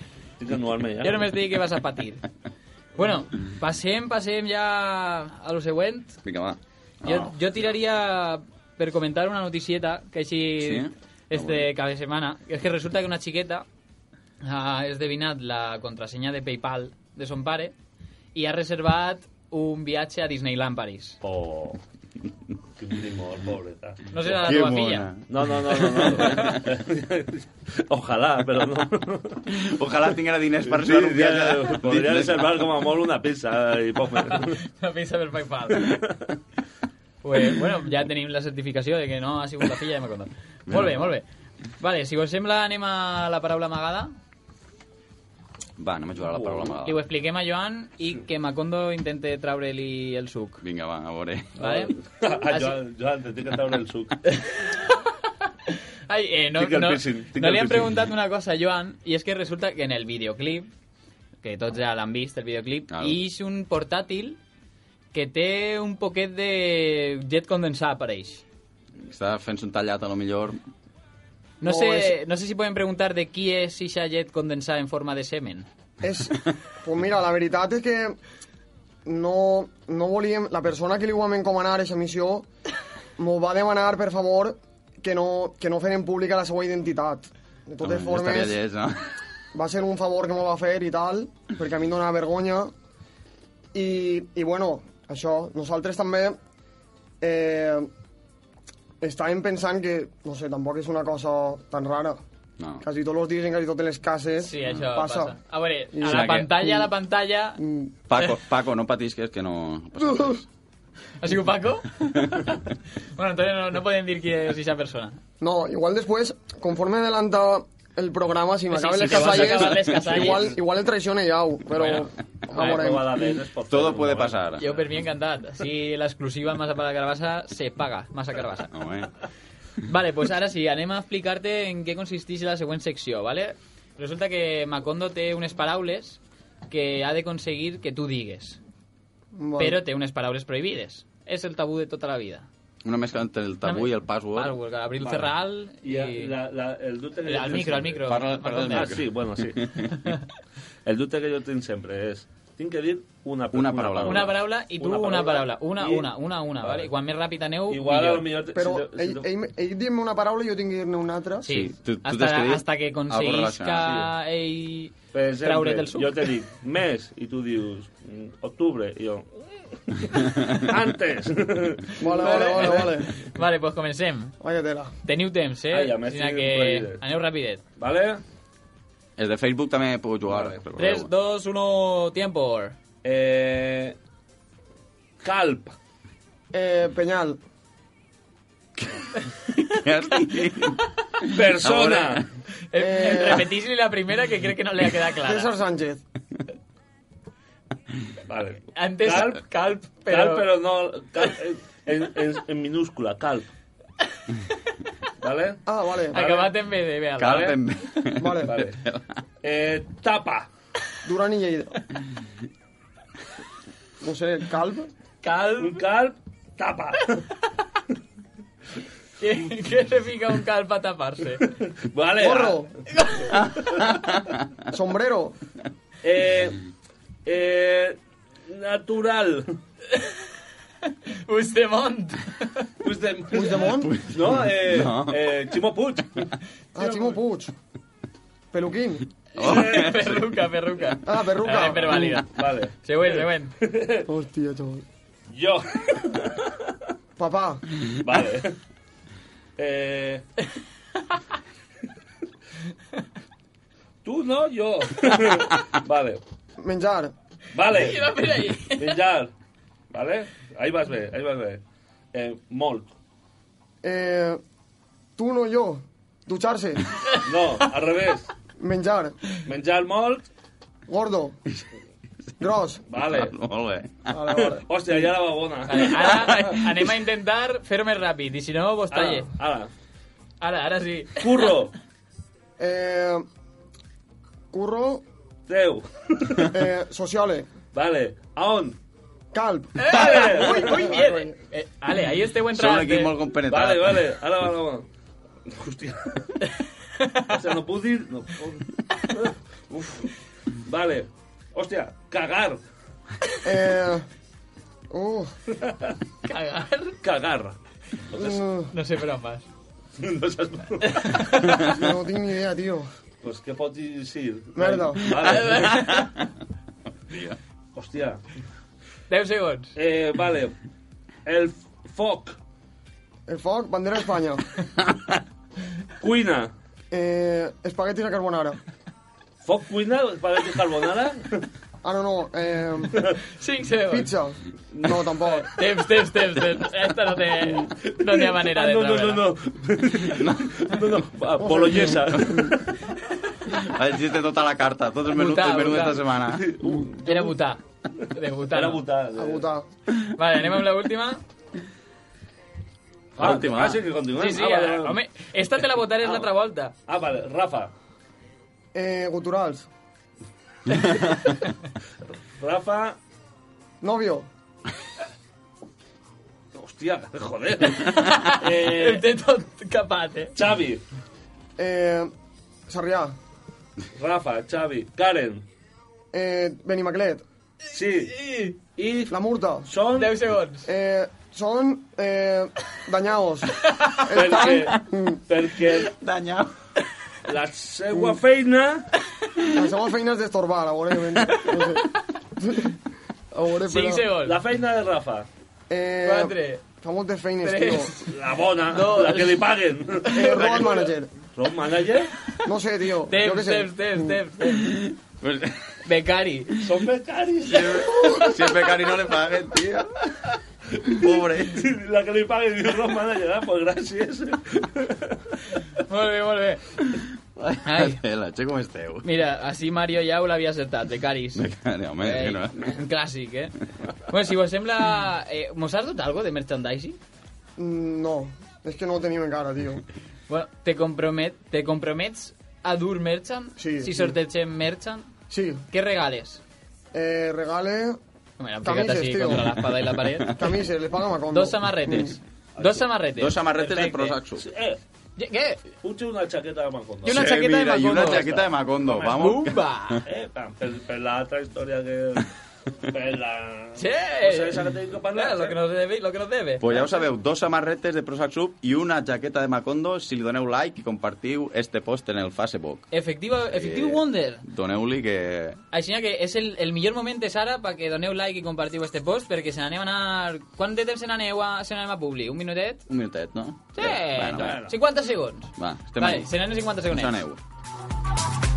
Speaker 10: Tinc que anuar-me ja.
Speaker 3: Jo només dic que vas a patir. Bueno, passem, passem ja a lo següent.
Speaker 4: Vinga, va.
Speaker 3: Jo,
Speaker 4: Ah,
Speaker 3: jo tiraria per comentar una noticieta que així
Speaker 4: Sí? Ah,
Speaker 3: este cada setmana. És que resulta que una xiqueta ah, ha esdevinat la contrasenya de Paypal de son pare i ha reservat un viatge a Disneyland París.
Speaker 10: Oh. Quin primor, pobreta.
Speaker 3: No serà la
Speaker 4: Que
Speaker 3: teva
Speaker 4: mona.
Speaker 3: filla.
Speaker 10: No, no, no, no. no. Ojalá, però no.
Speaker 4: Ojalà tinguera diners per fer un viatge.
Speaker 10: Podria reservar com a molt una pizza i poc més.
Speaker 3: La pizza per Paypal. Pues, bueno, ja tenim la certificació de que no ha sigut la filla de Macondo. Molt bé, molt bé. Vale, si us sembla, anem a la paraula amagada
Speaker 4: Va, anem a jugar a la paraula
Speaker 10: Ah.
Speaker 3: i ho
Speaker 4: amagada.
Speaker 3: expliquem a Joan i que Macondo intente traure-li el suc.
Speaker 4: Vinga, va, a veure.
Speaker 3: Vale?
Speaker 10: Ah,
Speaker 3: Així-
Speaker 10: Joan, Joan, te tinc que treure el suc.
Speaker 3: Ai, eh, no,
Speaker 10: Tinc el
Speaker 3: no,
Speaker 10: piercing, tinc
Speaker 3: no
Speaker 10: el
Speaker 3: li han
Speaker 10: piercing.
Speaker 3: preguntat una cosa a Joan, i és que resulta que en el videoclip, que tots ja l'han vist, el videoclip,
Speaker 4: Claro.
Speaker 3: hi és un portàtil que té un poquet de jet condensat per ells.
Speaker 4: Està fent-se un tallat, a lo millor.
Speaker 3: No,
Speaker 8: No,
Speaker 3: sé, no sé si podem preguntar de qui és ixa jet condensat en forma de semen.
Speaker 8: És... Pues mira, la veritat és que no, no volíem... La persona que li vam encomanar aquesta missió m'ho va demanar, per favor, que no, que no feren pública la seva identitat. De totes
Speaker 4: Home, Estaria
Speaker 8: formes,
Speaker 4: llest, no?
Speaker 8: va ser un favor que m'ho va fer i tal, perquè a mi em donava vergonya. I, i bueno, això, nosaltres també eh, estàvem pensant que, no sé, tampoc és una cosa tan rara.
Speaker 4: No.
Speaker 8: Quasi tots els dies en quasi totes les cases
Speaker 3: Sí, això passa.
Speaker 8: passa.
Speaker 3: A veure,
Speaker 8: I-
Speaker 3: a
Speaker 4: Serà
Speaker 3: la
Speaker 4: que-
Speaker 3: pantalla, a la pantalla...
Speaker 8: Mm,
Speaker 4: Paco, Paco, no patisques, que no... passa res.
Speaker 3: Ha sigut Paco? bueno, entonces no, no podem dir qui és ixa persona.
Speaker 8: No, igual después, conforme adelanta el programa, si me
Speaker 3: Pues sí,
Speaker 8: acaben
Speaker 3: si
Speaker 8: les
Speaker 3: te vas a
Speaker 8: casalles,
Speaker 3: acabar les casalles.
Speaker 8: igual, igual el traicione Yau, pero...
Speaker 3: Bueno. eh,
Speaker 8: ahora-
Speaker 4: Todo puede pasar.
Speaker 3: Yo per mi encantat. Així l'exclusiva massa per la carabassa se paga, massa carabassa.
Speaker 4: Home.
Speaker 3: Vale, pues ara sí, anem a explicar-te en què consisteix la següent secció, vale? Resulta que Macondo té unes paraules que ha d'aconseguir que tu digues,
Speaker 8: Bueno.
Speaker 3: però té unes paraules prohibides. És el tabú de tota la vida.
Speaker 4: Una mezcla entre el tabú i el password.
Speaker 3: Password, Gabriel Ferral
Speaker 10: Y,
Speaker 3: i-
Speaker 10: la- la- el dute que
Speaker 3: Al
Speaker 10: yo tengo
Speaker 3: micro, al
Speaker 10: siempre.
Speaker 3: micro. Parla- Marc parla del Conté.
Speaker 10: Ah, sí, bueno, sí. el dute que yo tengo siempre es... Tinc que dir una,
Speaker 4: Una paraula.
Speaker 3: Una paraula i tu una, paraula. Una,
Speaker 10: I-
Speaker 3: una, una, una, vale?
Speaker 10: Vale.
Speaker 3: I quan més ràpid aneu,
Speaker 10: Igual a lo
Speaker 3: millor.
Speaker 10: millor... te-
Speaker 8: Però
Speaker 10: si te- si
Speaker 8: ell,
Speaker 10: te-
Speaker 8: ell, ell dient-me una paraula i jo tinc que dir-ne una altra.
Speaker 3: Sí,
Speaker 4: Sí, tu- tu t'has
Speaker 3: hasta,
Speaker 4: creït
Speaker 3: hasta que
Speaker 4: algo
Speaker 3: aconseguís que
Speaker 4: relacionat.
Speaker 3: ell
Speaker 10: Per exemple,
Speaker 3: traure't el suc.
Speaker 10: jo te dic mes i tu dius mm, octubre i jo antes.
Speaker 8: Vale, vale, vale, vale.
Speaker 3: Vale, pues comencem.
Speaker 8: Vaya tela.
Speaker 3: Teniu temps, eh?
Speaker 10: Ai, a més,
Speaker 3: Així
Speaker 10: sí,
Speaker 3: que
Speaker 10: rapidet.
Speaker 3: aneu rapidet.
Speaker 10: vale?
Speaker 4: Els de Facebook també puc jugar.
Speaker 10: Vale.
Speaker 4: eh, recordeu.
Speaker 3: 3, 2, 1, tiempo.
Speaker 10: Eh, calp.
Speaker 8: Eh, Peñal.
Speaker 4: Ja estic.
Speaker 10: Persona.
Speaker 3: Eh...
Speaker 8: Eh.
Speaker 3: Repetís-li la primera que crec que no li ha quedat
Speaker 8: César
Speaker 3: clara.
Speaker 8: Sánchez.
Speaker 10: Vale.
Speaker 3: Antes,
Speaker 10: calp,
Speaker 3: calp,
Speaker 10: pero...
Speaker 3: pero...
Speaker 10: calp, pero no... Calp, eh, en, en, en minúscula, calp. Vale?
Speaker 8: Ah, vale.
Speaker 3: Acabat en BD, veale.
Speaker 4: Calp en...
Speaker 8: Vale.
Speaker 10: Vale. Eh, tapa.
Speaker 8: Durán y Lleida. No sé, Calp.
Speaker 4: eh.
Speaker 10: Un calp, tapa.
Speaker 3: ¿Qué, qué se pica un calp a taparse?
Speaker 10: Vale. ah,
Speaker 8: Gorro. Sombrero.
Speaker 10: Eh, eh, natural.
Speaker 3: Ustemont.
Speaker 10: Puigdem-
Speaker 8: Puigdemont.
Speaker 10: No, eh,
Speaker 4: No.
Speaker 10: eh, Ximo Puig.
Speaker 8: Ah, Chimo Puig. Peluquín.
Speaker 3: perruca, perruca.
Speaker 8: Ah, perruca.
Speaker 3: Vale, pero válida.
Speaker 10: Eh, Vale.
Speaker 3: Següent, següent.
Speaker 8: Hostia, chaval.
Speaker 10: Jo.
Speaker 8: Papá.
Speaker 10: Vale. Eh... Tu no, jo. Vale.
Speaker 8: Menjar.
Speaker 10: Vale.
Speaker 3: Mira, mira ahí.
Speaker 10: Menjar. Vale? Ahí vas bé, ahí vas bé. Eh, molt.
Speaker 8: Eh, tú no yo. Ducharse.
Speaker 10: No, al revés.
Speaker 8: Menjar.
Speaker 10: Menjar molt.
Speaker 8: Gordo. Gros.
Speaker 10: Vale.
Speaker 4: Molt bé.
Speaker 8: Vale, vale.
Speaker 10: Hòstia, ja la va bona.
Speaker 3: Vale, ara anem a intentar fer-ho més ràpid, i si no, vos talle.
Speaker 10: Ara, ara.
Speaker 3: Ara, ara sí.
Speaker 10: Curro.
Speaker 8: Eh, curro.
Speaker 10: Teu.
Speaker 8: Eh, sociale.
Speaker 10: Vale. A on?
Speaker 8: Calp.
Speaker 10: Vale.
Speaker 3: Muy, muy bien. Eh, Ale, ahí este buen
Speaker 4: Som un
Speaker 3: trabajo.
Speaker 4: equip molt compenetrat.
Speaker 10: Vale, vale, ara va, ara va. Hòstia. O sea, no puc dir... No puc... Uf. Vale. Hòstia, cagar.
Speaker 8: Eh, uh,
Speaker 3: Cagar.
Speaker 10: Cagar.
Speaker 8: uh,
Speaker 3: No sé, però más.
Speaker 10: No saps...
Speaker 8: no tinc ni idea, tío.
Speaker 10: pues què pots dir?
Speaker 8: Merda.
Speaker 10: Vale. Hòstia.
Speaker 3: 10 segons.
Speaker 10: Eh, vale. El foc.
Speaker 8: El foc, bandera d'Espanya.
Speaker 10: Cuina.
Speaker 8: Eh, espaguetis a carbonara.
Speaker 10: Foc, cuina, espagueti carbonara.
Speaker 8: Ah, no, no. Eh,
Speaker 3: 5 segons.
Speaker 8: pizza. No, tampoc.
Speaker 10: Eh,
Speaker 3: Temps, temps, temps, temps. Esta no té, no té manera de
Speaker 10: Ah, no, no,
Speaker 3: treure-la.
Speaker 10: no, no. No, no, no. Polonesa.
Speaker 4: Vaig dir tota la carta, tot el menú,
Speaker 3: Votar,
Speaker 4: el menú
Speaker 3: votar.
Speaker 4: d'esta setmana.
Speaker 3: Era votar. De votar.
Speaker 10: Era
Speaker 3: no.
Speaker 10: votar.
Speaker 8: A votar.
Speaker 3: Vale, anem amb l'última.
Speaker 10: Ah,
Speaker 4: Última.
Speaker 10: ah, sí, que continuem.
Speaker 3: Sí, sí,
Speaker 10: ah,
Speaker 3: ah,
Speaker 10: vale, vale.
Speaker 3: home, esta te la votaré és l'altra volta.
Speaker 10: Ah, vale, Rafa.
Speaker 8: Eh, guturals.
Speaker 10: Rafa...
Speaker 8: Novio.
Speaker 10: Hòstia, joder. eh,
Speaker 3: Em té tot capat, eh?
Speaker 10: Xavi.
Speaker 8: Eh, Sarrià.
Speaker 10: Rafa, Xavi. Karen.
Speaker 8: Eh, Benimaclet.
Speaker 10: Sí. I
Speaker 8: La Murta.
Speaker 10: són...
Speaker 3: 10 segons.
Speaker 8: Eh, són eh, mm. danyaos.
Speaker 10: Perquè, perquè
Speaker 4: Danyau.
Speaker 10: la seva feina...
Speaker 8: La seva feina és d'estorbar, a veure. No sé. A veure,
Speaker 3: 5
Speaker 8: però...
Speaker 3: segons.
Speaker 10: La feina de Rafa.
Speaker 8: Eh,
Speaker 3: 4,
Speaker 8: Fa moltes feines, tio.
Speaker 3: 3...
Speaker 10: La bona,
Speaker 3: Dos.
Speaker 10: la que li paguen.
Speaker 8: Eh, road manager.
Speaker 10: Són manager?
Speaker 8: No sé, tio. jo què
Speaker 3: Temps,
Speaker 8: sé.
Speaker 3: temps, temps, temps, temps. Becari.
Speaker 10: Són becaris.
Speaker 4: Si el becari no le eh, paguen, tio. Pobre.
Speaker 10: La que li paguen diu, no, manager, ah, pues gràcies.
Speaker 3: Molt bé, molt bé. Ai.
Speaker 4: Tela, che, com esteu?
Speaker 3: Mira, així Mario ja ho l'havia acertat, de caris.
Speaker 4: Becari, home,
Speaker 3: Ei,
Speaker 4: no.
Speaker 3: un clàssic, eh? bueno, si vos sembla... Eh, mos has dut algo de merchandising?
Speaker 8: Mm, No, és que no ho tenim encara, tio.
Speaker 3: Bueno, te, compromet, te compromets a dur merchant?
Speaker 8: Sí,
Speaker 3: Si
Speaker 8: sí.
Speaker 3: sortegem merchant?
Speaker 8: Sí.
Speaker 3: Què regales?
Speaker 8: Eh, regale...
Speaker 3: Home, l'han picat
Speaker 8: Camises,
Speaker 3: així
Speaker 8: tio.
Speaker 3: contra l'espada i la paret.
Speaker 8: Camises, le paga Macondo.
Speaker 3: Dos samarretes. Dos samarretes.
Speaker 4: Dos samarretes de
Speaker 3: Perfecte.
Speaker 4: Prosaxo.
Speaker 10: Eh,
Speaker 3: ¿Qué?
Speaker 10: Puig una jaqueta de Macondo.
Speaker 3: I una
Speaker 4: Che,
Speaker 3: chaqueta de
Speaker 4: mira, I eh, una
Speaker 3: Macondo.
Speaker 4: jaqueta de Macondo,
Speaker 10: Home,
Speaker 4: vamos.
Speaker 3: ¡Bumba!
Speaker 10: Eh, pam, per, per l'altra història que... Per la...
Speaker 3: Sí.
Speaker 10: No sé, esa que tenim que parlar.
Speaker 3: Claro, lo que nos debe, lo que nos debe.
Speaker 4: ¿eh? Pues ja ho sabeu, dos samarretes de Prosac Sub i una jaqueta de Macondo si li doneu like i compartiu este post en el Facebook.
Speaker 3: Efectivo, efectivo
Speaker 4: Eh.
Speaker 3: Wonder.
Speaker 4: Doneu-li que...
Speaker 3: Així que és el, el millor moment de Sara perquè doneu like i compartiu este post perquè se n'aneu a anar... Quant de temps se n'aneu a, se n'anem a Publi? Un minutet?
Speaker 4: Un minutet, no?
Speaker 3: Sí,
Speaker 4: Eh, bueno,
Speaker 3: bueno,
Speaker 4: va.
Speaker 3: 50 segons.
Speaker 4: Va, estem
Speaker 3: Vale,
Speaker 4: ahí.
Speaker 3: se n'aneu 50
Speaker 4: Us
Speaker 3: segons.
Speaker 4: aneu.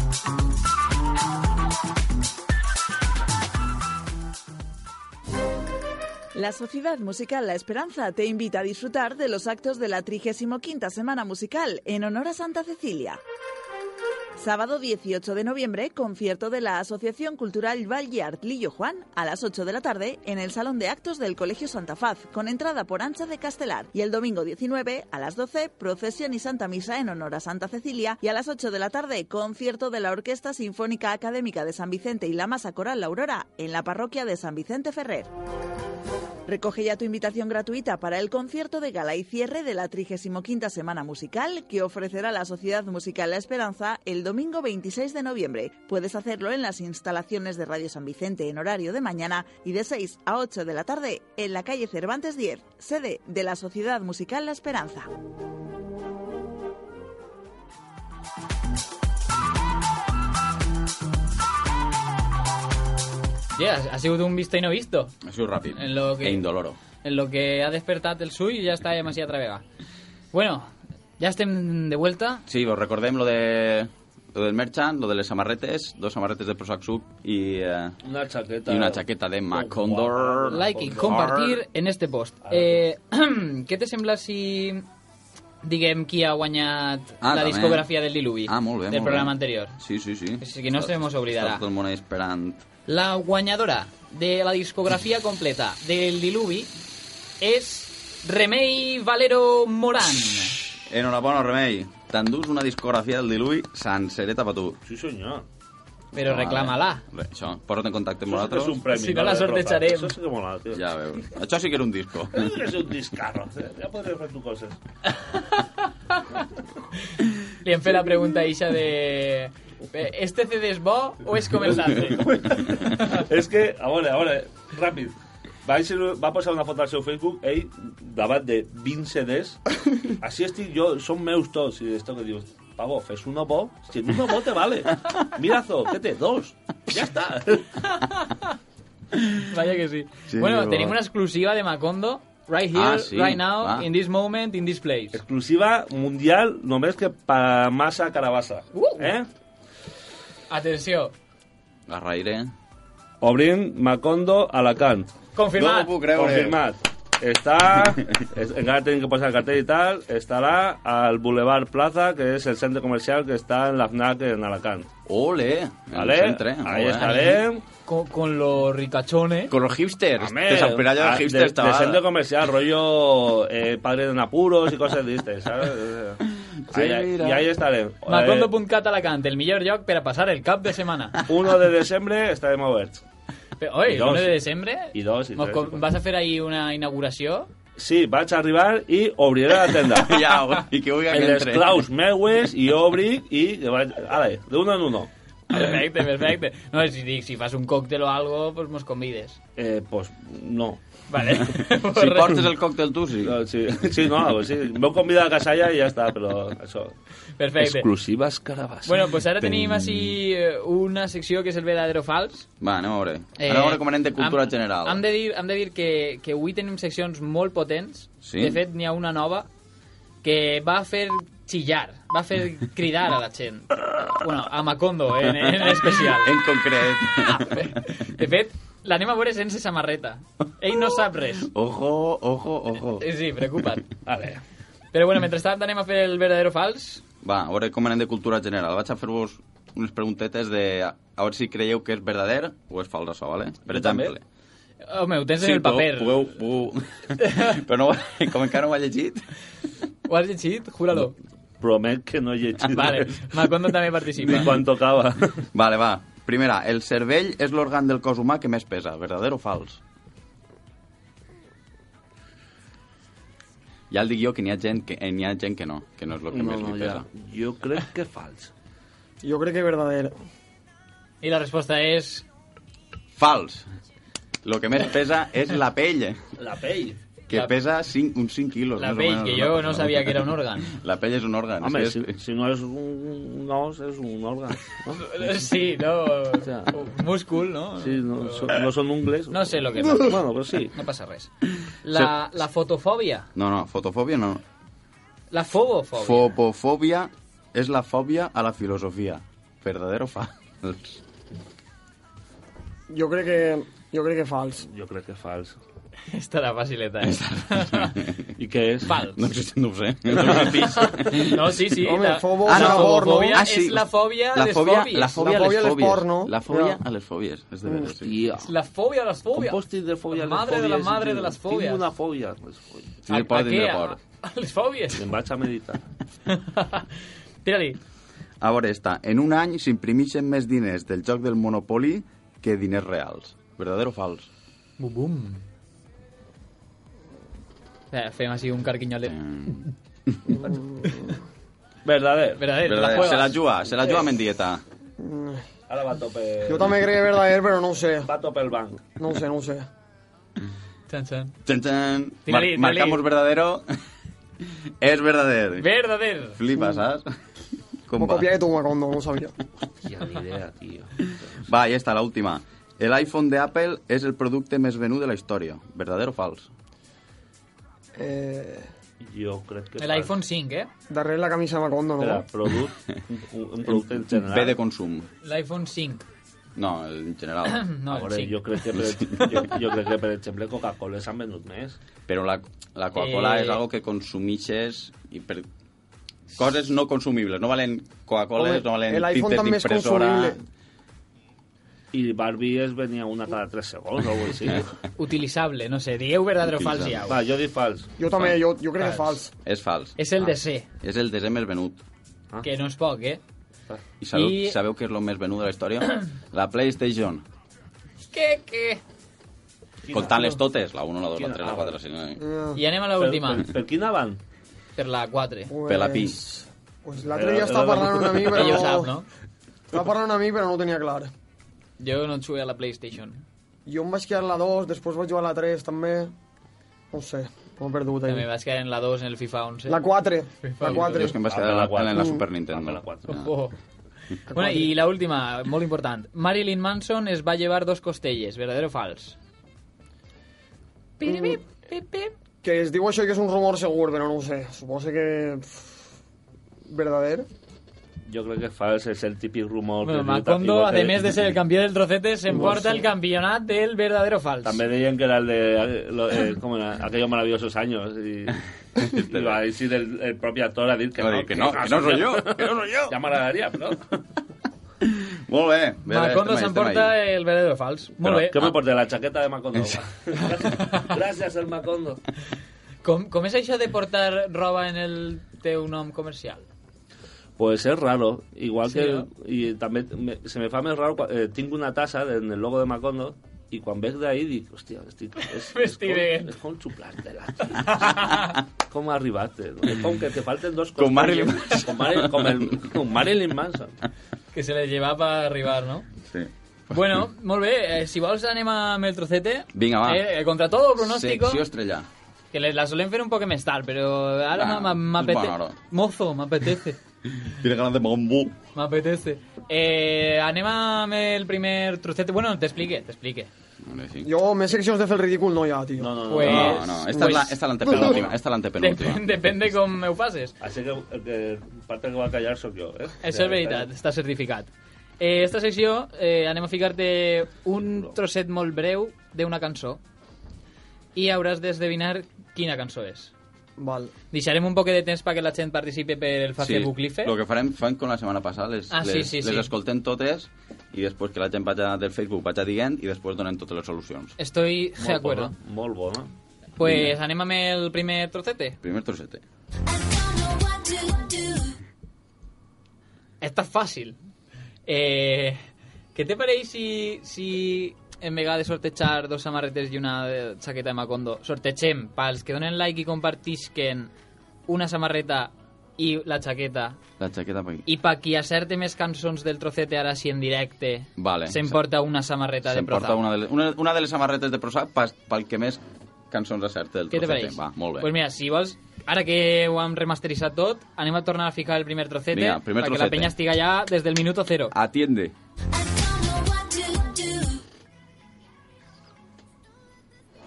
Speaker 5: La Sociedad Musical La Esperanza te invita a disfrutar de los actos de la 35 Semana Musical en honor a Santa Cecilia. Sábado 18 de noviembre, concierto de la Asociación Cultural Valleart Lillo Juan a las 8 de la tarde en el Salón de Actos del Colegio Santa Faz, con entrada por Ancha de Castelar. Y el domingo 19 a las 12, procesión y Santa Misa en honor a Santa Cecilia. Y a las 8 de la tarde, concierto de la Orquesta Sinfónica Académica de San Vicente y la Masa Coral La Aurora en la parroquia de San Vicente Ferrer. Recoge ya tu invitación gratuita para el concierto de gala y cierre de la 35 Semana Musical que ofrecerá la Sociedad Musical La Esperanza el domingo 26 de noviembre. Puedes hacerlo en las instalaciones de Radio San Vicente en horario de mañana y de 6 a 8 de la tarde en la calle Cervantes 10, sede de la Sociedad Musical La Esperanza.
Speaker 3: Yeah, ha sigut un visto i no visto.
Speaker 4: Ha sigut ràpid.
Speaker 3: En lo que-
Speaker 4: E indoloro.
Speaker 3: En lo que ha despertat el sull ja està demasiado trevega. Bueno, ja estem de vuelta.
Speaker 4: Sí, os recordem lo de... Lo del merchant, lo de les samarretes, dos samarretes de Prosac Sub i... Eh,
Speaker 10: Una chaqueta.
Speaker 4: y una chaqueta de Macondor.
Speaker 3: Like y
Speaker 4: Macondor.
Speaker 3: compartir en este post. Eh, què te sembla si diguem qui ha guanyat
Speaker 4: Ah,
Speaker 3: la
Speaker 4: també.
Speaker 3: discografia del Diluvi
Speaker 4: Ah, molt bé,
Speaker 3: del
Speaker 4: molt
Speaker 3: programa
Speaker 4: bé.
Speaker 3: anterior?
Speaker 4: Sí, sí, sí.
Speaker 3: És que no se mos oblidarà.
Speaker 4: Està tot el món esperant.
Speaker 3: La guanyadora de la discografia completa del Diluvi és Remei Valero Morán.
Speaker 4: Enhorabona, Remei. T'endús una discografia del diluvi sencereta per tu.
Speaker 10: Sí, senyor.
Speaker 3: Però reclama-la.
Speaker 4: Re, això, posa't en contacte amb
Speaker 10: Això sí que és un
Speaker 4: nosaltres.
Speaker 10: premi.
Speaker 3: Si no la
Speaker 10: de Prozac.
Speaker 3: sortejarem.
Speaker 10: Això sí que mola, tio.
Speaker 4: Ja veus. Això sí que era un disco.
Speaker 10: Jo crec que és un discarro. Ja eh, podré fer tu coses.
Speaker 3: Li hem fet la pregunta eixa de... eh, Este CD és bo o és comercial?
Speaker 10: és que, ah, a veure, a veure, ràpid. Va, ser, va posar una foto al seu Facebook, ell, davant de 20 CDs. Així estic jo, són meus tots. I esto que dius, Pavo, fes uno bo. Si en uno bo te vale. Mirazo, què té? Dos. Ja està.
Speaker 3: Vaya que sí.
Speaker 4: Sí,
Speaker 3: bueno,
Speaker 4: va.
Speaker 3: tenemos una exclusiva de Macondo. Right here,
Speaker 4: Ah, sí,
Speaker 3: right now,
Speaker 4: va.
Speaker 3: in this moment, in this place.
Speaker 10: Exclusiva mundial, només que per massa carabassa.
Speaker 3: Uh!
Speaker 10: Eh?
Speaker 3: Atención.
Speaker 4: La raire.
Speaker 10: Obrim Macondo Alacant.
Speaker 4: No
Speaker 3: Confirmad.
Speaker 4: ho puc
Speaker 10: eh?
Speaker 4: creure.
Speaker 10: Confirmat. Està, es, encara tenim que posar el cartell i tal, estarà al Boulevard Plaza, que és el centre comercial que està en la FNAC en Alacant.
Speaker 4: Ole. en el
Speaker 10: ¿Vale?
Speaker 4: centre. Molt
Speaker 10: Ahí
Speaker 4: bé.
Speaker 10: estarem.
Speaker 3: con, con los ricachones.
Speaker 4: Con los hipsters.
Speaker 10: Home,
Speaker 4: Te s'amperalla
Speaker 10: ah,
Speaker 4: dels hipsters,
Speaker 10: de, de
Speaker 4: xaval.
Speaker 10: centre comercial, rollo eh, padre de apuros i coses d'estes, ¿sabes?
Speaker 4: Sí,
Speaker 10: Ahí- ahí-
Speaker 4: mira.
Speaker 10: I ahí estarem.
Speaker 4: Eh.
Speaker 3: Macondo.cat Alacant, el millor lloc per a passar el cap de setmana.
Speaker 10: 1 de desembre estarem oberts.
Speaker 3: Però, Oi,
Speaker 10: I
Speaker 3: el
Speaker 10: dos.
Speaker 3: 1 de desembre?
Speaker 10: I dos, i
Speaker 3: mos
Speaker 10: tres,
Speaker 3: co-
Speaker 10: i quatre.
Speaker 3: Vas a fer ahí una inauguració?
Speaker 10: Sí, vaig arribar i obriré la tenda.
Speaker 4: Ja, i que vulgui
Speaker 10: en
Speaker 4: que
Speaker 10: les
Speaker 4: entre.
Speaker 10: claus meues i òbric i que vaig... Ale, d'un en uno.
Speaker 3: Perfecte, perfecte. No, si, dic, si fas un còctel o algo, pues mos convides.
Speaker 10: Eh, pues no.
Speaker 3: Vale.
Speaker 4: Si portes el còctel tu, sí.
Speaker 10: no sí, sí, no, sí. M'heu convidat a casalla i ja està, però això...
Speaker 3: Perfecte.
Speaker 10: Exclusives carabassa.
Speaker 3: Bueno, pues ara tenim així eh, una secció que és el verdadero o fals.
Speaker 4: Va, anem a veure. Anem a veure com anem de cultura
Speaker 3: hem,
Speaker 4: general.
Speaker 3: Hem Eh, de dir, hem de dir que, que avui tenim seccions molt potents.
Speaker 4: Sí?
Speaker 3: De fet, n'hi ha una nova que va fer xillar, va fer cridar a la gent. Bueno, a Macondo, en, en especial.
Speaker 4: En concret.
Speaker 3: De fet, l'anem a veure sense samarreta. Ell no sap res.
Speaker 4: Ojo, ojo, ojo.
Speaker 3: Eh, Sí, sí, preocupa't.
Speaker 10: Vale.
Speaker 3: Però bueno, mentrestant anem a fer el verdadero o fals.
Speaker 4: Va, a veure com anem de cultura general. Vaig a fer-vos unes preguntetes de a, a veure si creieu que és verdader o és fals això, vale? Per
Speaker 3: Jo també.
Speaker 4: exemple.
Speaker 3: Home, ho tens
Speaker 4: Sí,
Speaker 3: en el paper.
Speaker 4: podeu- Podeu, podeu... Però no, com encara no ho he llegit...
Speaker 3: Ho has llegit? Júralo.
Speaker 4: Promet que no he llegit
Speaker 3: Vale, Malcondo també participa.
Speaker 4: tocava. Vale, va. Primera, el cervell és l'òrgan del cos humà que més pesa. Verdader o fals? Ja el dic jo que n'hi ha, gent que eh, n'hi ha gent que no, que no és el que
Speaker 8: No,
Speaker 4: més
Speaker 8: no,
Speaker 4: li
Speaker 8: ja.
Speaker 4: pesa. Jo crec que fals.
Speaker 8: Yo creo que es verdadero.
Speaker 3: I la resposta és...
Speaker 4: Fals. Lo que més pesa és la pell, eh,
Speaker 3: La pell.
Speaker 4: que
Speaker 3: La-
Speaker 4: pesa cinc, uns 5 quilos.
Speaker 3: La
Speaker 4: més o
Speaker 3: pell,
Speaker 4: menos,
Speaker 3: que
Speaker 4: una
Speaker 3: jo
Speaker 4: cosa.
Speaker 3: no sabia que era un òrgan.
Speaker 4: La pell és un òrgan.
Speaker 10: Home,
Speaker 4: és que
Speaker 10: si, si no és un os, és un òrgan. No?
Speaker 3: Sí, no...
Speaker 10: sea,
Speaker 3: Múscul, no?
Speaker 10: Sí, no, so, no són ungles.
Speaker 3: No sé lo que pasa.
Speaker 10: Bueno, però sí.
Speaker 3: No pasa res. La, la fotofòbia.
Speaker 4: No, no, fotofòbia no.
Speaker 3: La fobofòbia.
Speaker 4: Fopofòbia és la fòbia a la filosofia. Verdader o fals?
Speaker 8: Yo creo que yo creo que fals.
Speaker 10: Jo crec que fals.
Speaker 3: Esta era facileta, eh?
Speaker 10: I què és?
Speaker 3: Fals.
Speaker 4: No, sé, no ho sé.
Speaker 3: No, sí, sí.
Speaker 8: Home,
Speaker 3: la,
Speaker 8: fobo
Speaker 3: la
Speaker 8: és amor, no?
Speaker 3: fobofòbia
Speaker 8: Ah, sí.
Speaker 3: és la fòbia
Speaker 4: La
Speaker 3: a les
Speaker 4: fòbia,
Speaker 3: fòbies.
Speaker 4: la fòbia,
Speaker 8: La fòbia
Speaker 4: a
Speaker 8: a
Speaker 4: les
Speaker 8: les
Speaker 4: fòbies.
Speaker 8: porno.
Speaker 4: La fòbia
Speaker 10: Ja.
Speaker 4: a les fòbies. És de veres, sí.
Speaker 10: Hòstia.
Speaker 3: La fòbia a les
Speaker 10: Com
Speaker 3: fòbies.
Speaker 10: pots tindre fòbia a les
Speaker 3: Madre de
Speaker 10: fòbies?
Speaker 3: la madre
Speaker 10: Tinc-
Speaker 3: de les fòbies.
Speaker 10: Tinc una Pues, fòbia. a les fòbies.
Speaker 4: Sí,
Speaker 3: A-
Speaker 4: por,
Speaker 3: a
Speaker 4: tindré
Speaker 3: què?
Speaker 4: por.
Speaker 3: A, a les fòbies.
Speaker 10: Em vaig a meditar.
Speaker 3: Tira-li.
Speaker 4: A veure, està. En un any s'imprimixen més diners del joc del Monopoly que diners reals. Verdader o fals?
Speaker 3: Bum, bum. Espera, Eh, Fem així un carquinyolet.
Speaker 10: Verdader.
Speaker 3: Verdader, te la
Speaker 4: Verdader.
Speaker 3: juegas.
Speaker 4: Se la juga, se la juga a Mendieta.
Speaker 10: Ara va a tope...
Speaker 8: Yo también creo que es verdadero, pero no sé.
Speaker 10: Va a tope el banc.
Speaker 8: No sé, no sé.
Speaker 3: Chan, chan.
Speaker 4: Txan, txan. Mar
Speaker 3: Tira-li, tira-li.
Speaker 4: marcamos verdadero. és verdader.
Speaker 3: Verdader.
Speaker 4: Flipa, saps?
Speaker 8: Como
Speaker 4: va?
Speaker 8: copia de tu cuando no sabía.
Speaker 10: Hòstia, ni idea, tio.
Speaker 4: Va, ja està, l'última. El iPhone de Apple és el producte més venut de la història. Verdader o fals?
Speaker 8: Eh,
Speaker 10: Jo crec que...
Speaker 3: El iPhone 5, eh?
Speaker 8: darré la camisa de Macondo,
Speaker 10: Espera,
Speaker 8: ¿no?
Speaker 10: producte, un, un producte en general.
Speaker 4: Bé de consum.
Speaker 3: L'iPhone 5.
Speaker 4: No, en general.
Speaker 3: No,
Speaker 10: A
Speaker 3: el
Speaker 10: veure,
Speaker 3: 5.
Speaker 10: jo crec que, per, ex- jo, jo crec que, per exemple, Coca-Cola s'han venut més.
Speaker 4: Però la, la Coca-Cola
Speaker 3: Eh.
Speaker 4: és algo que consumixes i per coses no consumibles. No valen Coca-Cola,
Speaker 8: Home,
Speaker 4: no valen
Speaker 8: el iPhone
Speaker 4: tintes
Speaker 8: també és
Speaker 4: d'impressora...
Speaker 8: consumible.
Speaker 10: I Barbie es venia una cada 3 segons o alguna així.
Speaker 3: Utilitzable, no sé. Digueu verdadero o fals ja.
Speaker 10: Va, jo dic fals.
Speaker 8: Yo también, yo, yo creo que es fals.
Speaker 4: És fals.
Speaker 3: És
Speaker 10: Ah.
Speaker 3: el de C,
Speaker 4: És el desè més venut.
Speaker 3: que no és poc, eh?
Speaker 4: I sabeu,
Speaker 3: I-
Speaker 4: I... sabeu què és el més venut de la història? la PlayStation.
Speaker 3: Que, que...
Speaker 4: Comptant-les totes. La 1, la 2, la
Speaker 10: Quina?
Speaker 4: 3, la 4, la 5... La...
Speaker 8: Eh,
Speaker 3: I anem a
Speaker 10: Per,
Speaker 3: l'última,
Speaker 10: per, per quina van?
Speaker 3: per la 4.
Speaker 8: Pues,
Speaker 4: Per la pis.
Speaker 8: Pues l'altre
Speaker 4: Eh,
Speaker 8: dia estava parlant una a mi, però
Speaker 3: Ell ho
Speaker 8: no...
Speaker 3: sap, no?
Speaker 8: Estava parlant una a mi, però no ho tenia clar.
Speaker 3: Jo no jugué a la PlayStation.
Speaker 8: Jo em vaig quedar a la 2, després vaig jugar a la 3, també. No ho sé, m'ho he perdut.
Speaker 3: També
Speaker 8: ahí.
Speaker 3: vaig quedar en la 2 en el FIFA 11.
Speaker 8: La 4, la
Speaker 4: Jo
Speaker 8: 4.
Speaker 4: és que em vaig
Speaker 10: Ah,
Speaker 4: quedar
Speaker 10: per la
Speaker 4: en la, en la
Speaker 10: quatre.
Speaker 4: Super
Speaker 10: Per
Speaker 4: Nintendo. Ah.
Speaker 10: la 4.
Speaker 3: Oh. Bueno, i la última, molt important. Marilyn Manson es va llevar dos costelles, verdadero o fals? Piripip, pip, pip.
Speaker 8: Que es diu això que és un rumor segur, però no ho sé. Suposo que... pff, Verdader?
Speaker 10: Jo crec que fals és el típic rumor...
Speaker 3: Bueno,
Speaker 10: que diu-
Speaker 3: Macondo,
Speaker 10: igual
Speaker 3: a
Speaker 10: que-
Speaker 3: més de ser el campió del trocete, s'emporta el campionat del verdadero o fals.
Speaker 10: També deien que era el de lo- eh, com era, aquellos maravillosos años. Y, y va a decir el, el propio actor a decir que
Speaker 4: Va
Speaker 10: no,
Speaker 4: dir que no, que no soy yo, que no soy yo.
Speaker 10: Ya m'agradaria, però...
Speaker 4: Molt bé. bé bé,
Speaker 3: Macondo
Speaker 4: estem ahí,
Speaker 3: s'emporta
Speaker 4: estem ahí.
Speaker 3: el verdadero o fals. Molt
Speaker 10: Però,
Speaker 3: bé.
Speaker 10: Què me porta, la chaqueta "Pues de Macondo? Gràcies, el Macondo.
Speaker 3: Com, com és això de portar roba en el teu nom comercial?
Speaker 10: Pues es raro, igual
Speaker 3: Sí,
Speaker 10: que...
Speaker 3: no?
Speaker 10: I també me, se me fa més raro, quan- eh, tinc una tassa en el logo de Macondo i quan veig d'ahir dic, hòstia, estic... És,
Speaker 3: M'estic
Speaker 10: és,
Speaker 3: veient.
Speaker 10: com, és com xuplar-te-la. com arribaste? No? És com que te falten dos
Speaker 4: Com
Speaker 10: costilles.
Speaker 4: Marilyn Manson.
Speaker 10: Com Marilyn, com el, com Marilyn Manson.
Speaker 3: Que se les lleva per arribar, no?
Speaker 4: Sí.
Speaker 3: Bueno, molt bé, eh, si vols anem amb el trocete.
Speaker 4: Vinga, va.
Speaker 3: Eh, eh, contra todo pronóstico,
Speaker 4: Secció estrella.
Speaker 3: que le- la solem fer un poc més tard, però ara
Speaker 4: Ah,
Speaker 3: m'apetece.
Speaker 4: és bona hora.
Speaker 3: Mozo, m'apetece.
Speaker 4: Tiene ganas de bombú.
Speaker 3: m'apetece. Eh, anem amb el primer trocete. Bueno, t'explique, t'explique.
Speaker 8: Jo, més seccions de fer el ridícul no hi ha, tio.
Speaker 10: No, no, no.
Speaker 3: Pues-
Speaker 4: No, no, esta
Speaker 3: pues-
Speaker 4: es la, esta es la antepenúltima. Esta es la antepenúltima.
Speaker 3: Depèn, depèn de com ho faces.
Speaker 4: Ah,
Speaker 10: Així que Este, el que parte que va a callar sóc jo, eh?
Speaker 3: Això és veritat, està certificat. Eh, esta secció eh, anem a ficar-te un trosset molt breu d'una cançó i hauràs d'esdevinar quina cançó és.
Speaker 8: Val.
Speaker 3: Deixarem un poquet de temps perquè la gent participi per el
Speaker 4: Sí,
Speaker 3: Facebook Live.
Speaker 4: el que farem fan com la setmana passada, les,
Speaker 3: Ah, sí,
Speaker 4: les,
Speaker 3: sí,
Speaker 4: les
Speaker 3: sí.
Speaker 4: escoltem totes i després que la gent vaja del Facebook vaja dient i després donem totes les
Speaker 3: Eh.
Speaker 4: solucions.
Speaker 3: Estoy
Speaker 4: Molt
Speaker 3: de acuerdo.
Speaker 4: bona,
Speaker 10: molt bona.
Speaker 3: Pues anem amb el primer trocete.
Speaker 4: Primer trocete.
Speaker 3: Esta es fácil. Eh, ¿Qué te parece si, si en vega de sortejar dos samarretes y una de- chaqueta de Macondo, sortegem pals que donen like y compartisquen una samarreta y la chaqueta
Speaker 4: La jaqueta per aquí.
Speaker 3: i pa qui acerte més cançons del trocete ara sí en directe
Speaker 4: Vale.
Speaker 3: s'emporta una samarreta de
Speaker 4: S'emporta
Speaker 3: Prozac.
Speaker 4: una, de les, una, una de les samarretes de Prozac pas- pel que més cançons acerta del
Speaker 3: Què te
Speaker 4: trocete.
Speaker 3: pareix?
Speaker 4: Va, molt bé.
Speaker 3: Pues mira, si vols, ara que ho hem remasteritzat tot, anem a tornar a ficar el primer trocete
Speaker 4: Vinga, primer
Speaker 3: perquè la
Speaker 4: trocete.
Speaker 3: penya estiga ja des del minuto cero.
Speaker 4: Atiende.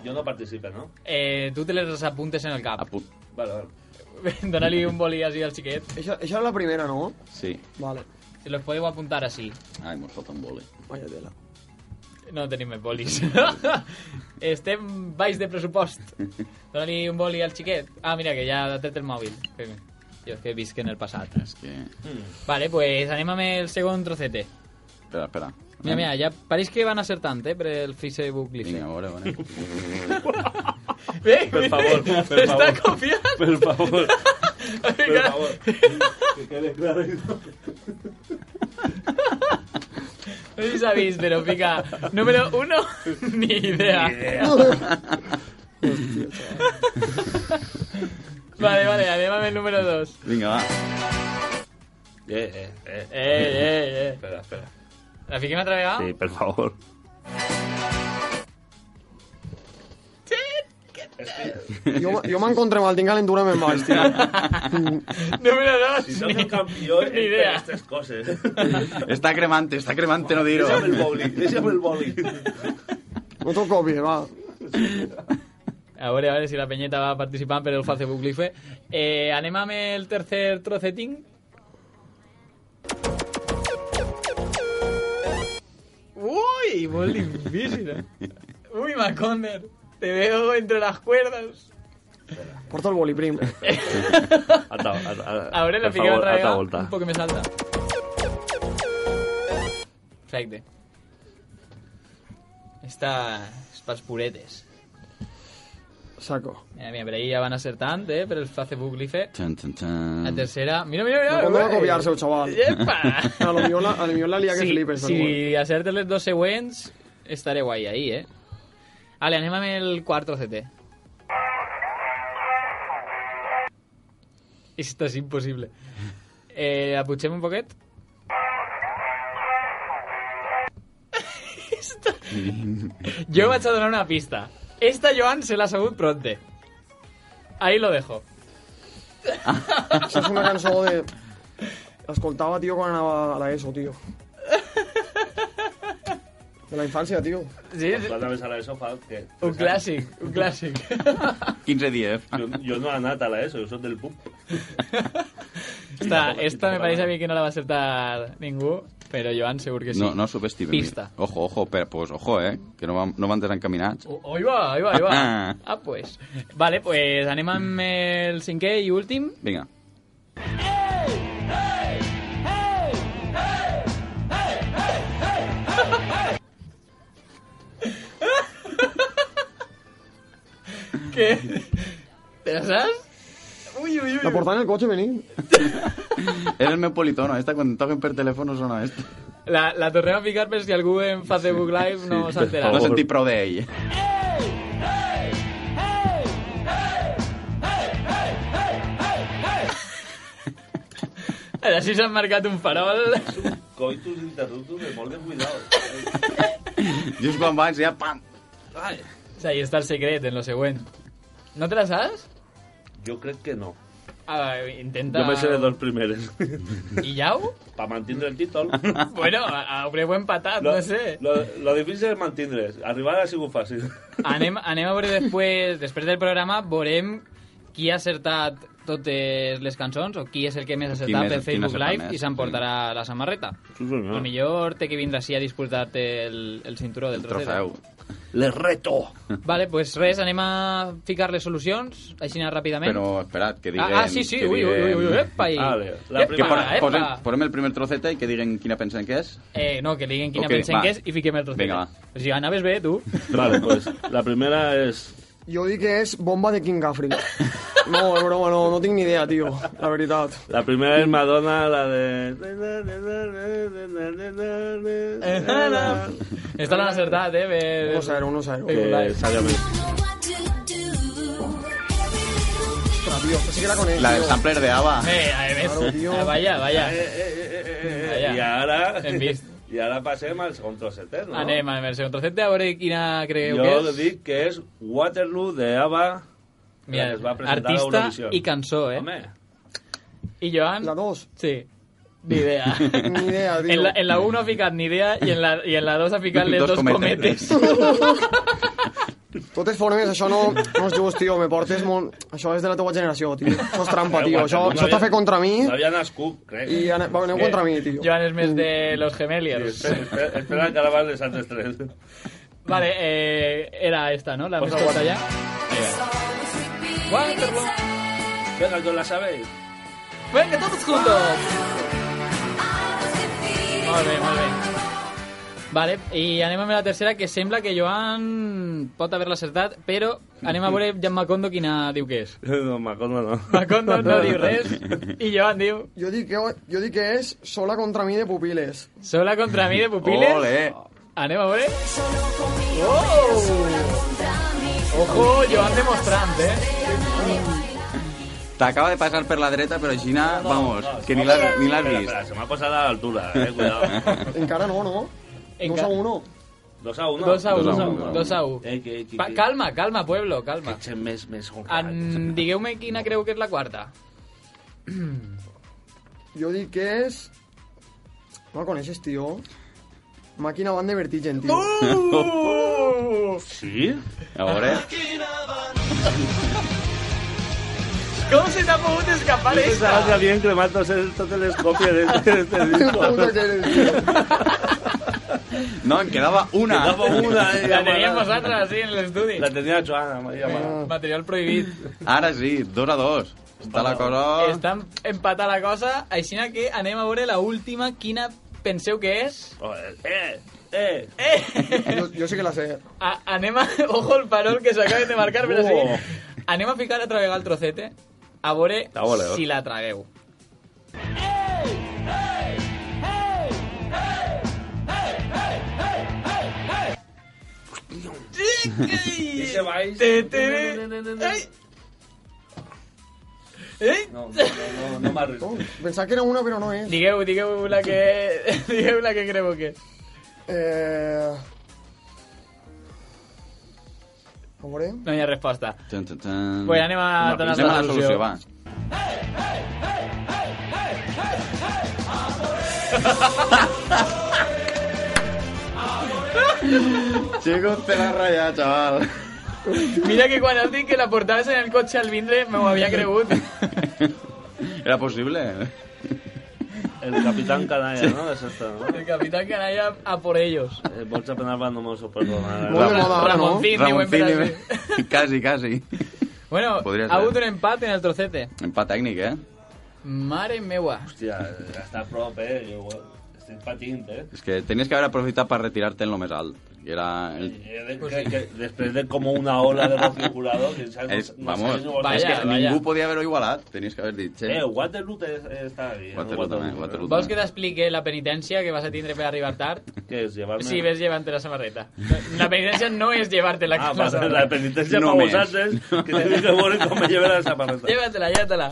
Speaker 10: Yo no participe, ¿no?
Speaker 3: Eh, tu te les apuntes en el cap.
Speaker 10: Vale, vale.
Speaker 3: Dóna-li un boli així al xiquet.
Speaker 8: Això, això és la primera, no?
Speaker 4: Sí.
Speaker 8: Vale.
Speaker 3: Se los podeu apuntar així.
Speaker 4: Ai, mos falta un vole.
Speaker 8: Vaya tela.
Speaker 3: No tenim més bolis. Estem baix de pressupost. Dóna-li un boli al xiquet. Ah, mira, que ja ha tret el mòbil. Espera. Jo és que visc en el passat.
Speaker 4: És que...
Speaker 3: Vale, pues anem amb el segon trocete.
Speaker 4: Espera, espera.
Speaker 3: Mira, mira, ja pareix que van acertant, eh, per el Facebook Live.
Speaker 4: Vinga, a veure, a veure.
Speaker 3: Bé,
Speaker 10: Per favor, per favor.
Speaker 3: Està copiant.
Speaker 10: Por favor, por
Speaker 3: Vinga.
Speaker 10: favor. Que quede claro.
Speaker 3: No sé si sabéis, pero pica número uno, ni idea. vale, vale, anem amb el número dos.
Speaker 4: Vinga, va.
Speaker 10: Eh, eh, eh.
Speaker 3: Eh, eh, eh.
Speaker 10: Espera, espera.
Speaker 3: La fiquem altra vegada?
Speaker 10: Sí, por favor.
Speaker 8: Jo, jo m'encontré amb el tinc calentament mal, tio.
Speaker 3: Número dos.
Speaker 10: Si sos el campeón,
Speaker 3: Ni idea.
Speaker 10: espera estas cosas.
Speaker 4: Està cremante, està cremante, no dir-ho.
Speaker 10: Déjame el boli, déjame el boli.
Speaker 8: No t'ho copies, va.
Speaker 3: A veure, a veure si la penyeta va participant per el Facebook Live. Eh, anem amb el tercer trocetín. Ui, molt difícil, eh? Ui, Maconder, te veo entre las cuerdas.
Speaker 8: Porta el boli prim.
Speaker 10: Ata, ata,
Speaker 3: A veure, la
Speaker 10: per
Speaker 3: fiquem
Speaker 10: favor,
Speaker 3: altra
Speaker 10: ata
Speaker 3: vegada,
Speaker 10: volta.
Speaker 3: ¿ah? un poc més alta. Perfecte. Esta és pels puretes.
Speaker 8: Saco.
Speaker 3: Mira, mira, per ahí ja van acertant, eh? Per el Facebook Live.
Speaker 4: Tan, tan,
Speaker 3: La
Speaker 4: tan.
Speaker 3: tercera... Mira, mira, mira.
Speaker 8: No, com no va
Speaker 3: eh.
Speaker 8: copiar, seu xaval. A
Speaker 3: Epa!
Speaker 8: lo millor la, a lo millor la lia que
Speaker 3: si,
Speaker 8: flipes.
Speaker 3: si
Speaker 8: Sí.
Speaker 3: acertes les dos següents, estaré guai ahí, eh? Vale, anem amb el quart CT. Esto és impossible. Eh, apugem un poquet? Esta... Jo vaig a donar una pista. Esta, Joan, se l'ha sabut pronte. Ahí lo dejo.
Speaker 8: Això és una cançó de... L'escoltava, tio, quan anava a l'ESO, tio. De la infància, tio.
Speaker 3: Sí, sí.
Speaker 10: Quan anaves a l'ESO fa... Què?
Speaker 3: Un clàssic, un clàssic.
Speaker 4: 15 dies.
Speaker 10: Jo, jo no he anat a l'ESO, jo soc del PUB.
Speaker 3: Esta, esta me parece a mí que no la va a aceptar ningú, pero Joan segur que sí.
Speaker 4: No, no subestimem.
Speaker 3: Pista.
Speaker 4: Ojo, ojo, però, pues, ojo, eh? Que no van, no van desencaminats.
Speaker 3: O- Oh, Ahí va, ahí va, ahí va. Ah, pues. Vale, pues anem amb el cinquè i últim.
Speaker 4: Vinga.
Speaker 3: Que... Te la saps? Ui, ui,
Speaker 8: La
Speaker 3: ui.
Speaker 8: portava en el cotxe venint.
Speaker 4: Era el meu politono. Esta, quan toquen per telèfon, sona esto.
Speaker 3: La, la tornem a ficar per si algú en Facebook Live no s'ha enterat.
Speaker 4: No sentí prou d'ell.
Speaker 3: Ara sí s'han marcat un farol.
Speaker 10: Coitus interruptus de molt de cuidado.
Speaker 4: Just quan vaig, ja, pam!
Speaker 3: O sea, ahí està el secret en lo següent. No te la saps?
Speaker 10: Jo crec que no.
Speaker 3: Ah, intenta...
Speaker 10: Jo me sé de dos primeres.
Speaker 3: I Yau?
Speaker 10: Pa mantindre el títol.
Speaker 3: Bueno, a- haureu empatat, no sé.
Speaker 10: Lo, lo difícil és mantindre's. Arribar ha sigut fàcil.
Speaker 3: Anem, anem a veure després, després del programa, veurem qui ha acertat totes les cançons o qui és el que més ha
Speaker 10: Qui
Speaker 3: acertat
Speaker 10: més- qui
Speaker 3: per
Speaker 10: n'ha
Speaker 3: Facebook
Speaker 10: acertat
Speaker 3: Live
Speaker 10: més, Mm.
Speaker 3: i s'emportarà la samarreta.
Speaker 10: Sí, senyor.
Speaker 3: El millor té que vindre així a disputar-te el, el cinturó del
Speaker 10: El
Speaker 3: trocero.
Speaker 10: trofeu. Les reto.
Speaker 3: Vale, pues res, anem a ficar les solucions, així ràpidament.
Speaker 4: Però esperad, que diguen...
Speaker 3: Ah, ah, sí, sí,
Speaker 4: que
Speaker 3: ui, ui, ui, ui,
Speaker 4: diguen-
Speaker 3: epa, i...
Speaker 10: Vale,
Speaker 4: La
Speaker 3: epa,
Speaker 4: que pon,
Speaker 3: epa.
Speaker 4: posem, posem el primer troceta i que diguen quina pensen que és.
Speaker 3: Eh, no, que diguen quina
Speaker 4: Ok,
Speaker 3: pensem
Speaker 4: va.
Speaker 3: que és i fiquem el trocet.
Speaker 4: Vinga, va.
Speaker 3: Però si anaves bé, tu.
Speaker 10: Vale, pues la primera és...
Speaker 8: Jo dic que és bomba de King Africa. No, és broma, no, no tinc ni idea, tio, la veritat.
Speaker 10: La primera és Madonna, la de...
Speaker 3: Eh, Esta l'han acertat, eh? Per...
Speaker 8: 1-0, 1-0.
Speaker 10: Que sàviament.
Speaker 8: Ostres, tio, sí que la conec.
Speaker 4: La del sampler de ABBA.
Speaker 3: Eh, a més.
Speaker 8: Claro, tio.
Speaker 3: Ah, vaya, vaya.
Speaker 10: Eh, I ara...
Speaker 3: Hem vist.
Speaker 10: I ara passem al segon trosset, eh, no?
Speaker 3: Anem, anem, el segon trocet, a veure quina creieu que
Speaker 10: Jo
Speaker 3: és.
Speaker 10: dic que és Waterloo de ABBA,
Speaker 3: Mira,
Speaker 10: la que es va presentar a
Speaker 3: artista
Speaker 10: Eurovisió.
Speaker 3: i cançó, eh?
Speaker 10: Home,
Speaker 3: I Joan...
Speaker 8: La 2.
Speaker 3: Sí. Ni idea.
Speaker 8: Ni idea, tio.
Speaker 3: en, la, en la 1 ha ficat ni idea i en la, i en la 2 ha ficat les
Speaker 4: Dos
Speaker 3: dos,
Speaker 4: cometes.
Speaker 3: cometes.
Speaker 8: totes formes, això no, no és just, tio. Me portes molt... Això és de la teua generació, tio. Això és trampa, tio. Això, això t'ha fet contra mi
Speaker 10: no havia nascut, crec. eh.
Speaker 8: i ane- va, aneu contra mi, tio.
Speaker 3: Joan és més de los gemeliers.
Speaker 10: Espera, espera, espera que ara van les altres tres.
Speaker 3: Vale, eh, era esta, ¿no? La
Speaker 10: Posa
Speaker 3: respuesta
Speaker 10: guata.
Speaker 3: ya. Waterloo.
Speaker 10: Venga, que os la sabéis.
Speaker 3: ¡Venga, todos juntos! Molt bé, molt bé. Vale, i anem amb la tercera, que sembla que Joan pot haver-la acertat, però anem a veure Jan Macondo quina diu que és.
Speaker 10: No, Macondo no.
Speaker 3: Macondo no diu res, i Joan diu
Speaker 8: Jo dic, que, jo dic que és sola contra mi de pupiles.
Speaker 3: Sola contra mi de pupiles.
Speaker 4: Ole.
Speaker 3: Anem a veure. Oh! Ojo, Joan demostrant, eh?
Speaker 4: T'acaba de passar per la dreta, però Gina, vamos, que ni l'has ni l'has
Speaker 10: Espera,
Speaker 4: vist.
Speaker 10: espera, se m'ha posat a l'altura, eh, cuidado.
Speaker 8: Encara no, no?
Speaker 3: Enca-
Speaker 8: 2 a 1.
Speaker 10: Dos a uno.
Speaker 3: 2 a 1,
Speaker 4: Dos a un,
Speaker 3: 2 a 1.
Speaker 10: Eh, que, que, que,
Speaker 3: Calma, calma, pueblo, calma.
Speaker 10: Che, més, més honrat.
Speaker 3: En, digueu-me quina creu que és la quarta.
Speaker 8: Jo dic que és... No la coneixes, tio. Màquina van de vertigen, tio.
Speaker 10: Sí?
Speaker 4: A veure,
Speaker 3: Com se t'ha pogut escapar
Speaker 10: Pensava que havien cremat tots els- totes les còpies d'este d'este
Speaker 8: Qué puta
Speaker 10: disco.
Speaker 8: que eres, tio.
Speaker 4: no, en quedava una.
Speaker 10: Quedava una, eh,
Speaker 3: La teníem
Speaker 10: llamada.
Speaker 3: vosaltres, així, en l'estudi.
Speaker 10: La tenia Joana, Maria Mara.
Speaker 3: Material prohibit.
Speaker 4: Ara sí, dos a dos. Està la
Speaker 10: Oh.
Speaker 4: cosa...
Speaker 3: Està empatada la cosa, així que anem a veure la última, quina penseu que és.
Speaker 10: Oh, eh, eh, eh.
Speaker 8: Jo, jo sí que la Ah, sé.
Speaker 3: A, anem a... Ojo el parol que s'acaba de marcar, però
Speaker 10: Oh.
Speaker 3: sí. Anem a ficar altra vegada el trocete a veure
Speaker 10: A veure.
Speaker 3: si la tragueu.
Speaker 10: I se baix.
Speaker 3: Te, te, ai. Eh?
Speaker 10: No, no, no, no, no m'arrisco.
Speaker 8: Oh, pensava que era una, però no és.
Speaker 3: Digueu, digueu la que... Digueu la que creu que és.
Speaker 8: Eh... A veure...
Speaker 3: No hi ha resposta.
Speaker 4: Tan, tan, tan.
Speaker 3: Pues anem a donar
Speaker 4: Anem a
Speaker 3: la
Speaker 4: la
Speaker 3: solució,
Speaker 4: solució, va. Chicos, te la has rayado, chaval.
Speaker 3: Mira que quan has dit que la portaves en el cotxe al vindre me ho havia cregut.
Speaker 4: Era posible.
Speaker 10: El capitán canalla, no? És esta, no?
Speaker 3: El capitán canalla a por ellos.
Speaker 10: Eh, Vols apenar van només o perdonar.
Speaker 8: Molt de moda, ara, no?
Speaker 3: Ramoncín, diuen per
Speaker 4: Ramoncini,
Speaker 3: així.
Speaker 4: Casi, casi.
Speaker 3: Bueno,
Speaker 4: Podria
Speaker 3: ha
Speaker 4: ser.
Speaker 3: hagut un empat en el trocete.
Speaker 4: Empat tècnic, eh?
Speaker 3: Mare meua.
Speaker 10: Hòstia, està a prop, eh? Jo igual estic patint, eh?
Speaker 4: És que tenies que haver aprofitat per retirar-te en lo més alt. Que era... El...
Speaker 10: Eh, de- Que, que, després de com una ola de configurador, que ja no,
Speaker 4: Es,
Speaker 10: no
Speaker 4: vamos,
Speaker 10: sabes ni vosaltres.
Speaker 4: és que
Speaker 3: Vaya, vaya.
Speaker 4: ningú podia haver-ho igualat. Tenies que haver dit... Che,
Speaker 10: Eh, Waterloo te, eh, està bé. eh?
Speaker 4: Waterloo també, Waterloo.
Speaker 3: Vols que t'expliqui la penitència que vas a tindre per arribar tard?
Speaker 10: Què és, llevar-me?
Speaker 3: Si ves llevant-te la samarreta. La penitència no és llevarte la
Speaker 10: Ah, va,
Speaker 3: samarreta.
Speaker 10: la penitència
Speaker 4: No
Speaker 10: no pa
Speaker 4: més.
Speaker 10: vosaltres, que teniu que veure com me llevarà la samarreta.
Speaker 3: Llévatela, llévatela.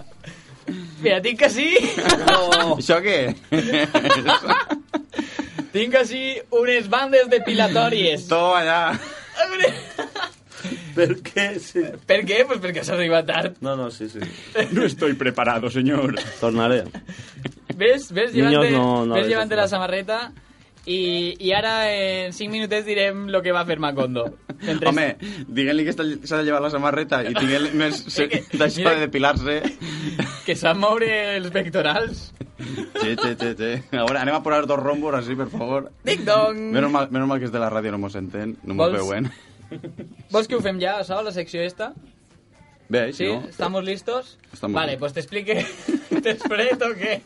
Speaker 3: Mira, tinc que sí...
Speaker 4: No. Això què?
Speaker 3: tinc que sí unes bandes depilatòries.
Speaker 4: Toma allà.
Speaker 10: Per què? Sí.
Speaker 3: per què? Pues perquè has arribat tard.
Speaker 10: No, no, sí, sí.
Speaker 4: No estoy preparado, señor.
Speaker 10: Tornaré.
Speaker 3: Ves, ves
Speaker 10: Niños,
Speaker 3: llevant-te
Speaker 10: no- no
Speaker 3: ves
Speaker 10: les
Speaker 3: llevant-te
Speaker 10: hace
Speaker 3: la samarreta i, i ara en 5 minutets direm lo que va fer Macondo. Entre-
Speaker 4: Home, diguent-li que està- s'ha de llevar la samarreta i diguent-li més se- d'això de depilar-se.
Speaker 3: Que sap moure els pectorals.
Speaker 4: Sí, sí, sí, sí. Ahora anem a posar dos rombos así, per favor.
Speaker 3: Ding dong!
Speaker 4: Menos mal, menos mal que és de la ràdio, no mos entén, no mos
Speaker 3: Vols?
Speaker 4: veuen.
Speaker 3: Vols que ho fem ja, Sao, la secció esta?
Speaker 4: Bé,
Speaker 3: Sí?
Speaker 4: si no...
Speaker 3: ¿Estamos listos?
Speaker 4: Estamos
Speaker 3: vale,
Speaker 4: listos.
Speaker 3: pues te explique... T'explico què?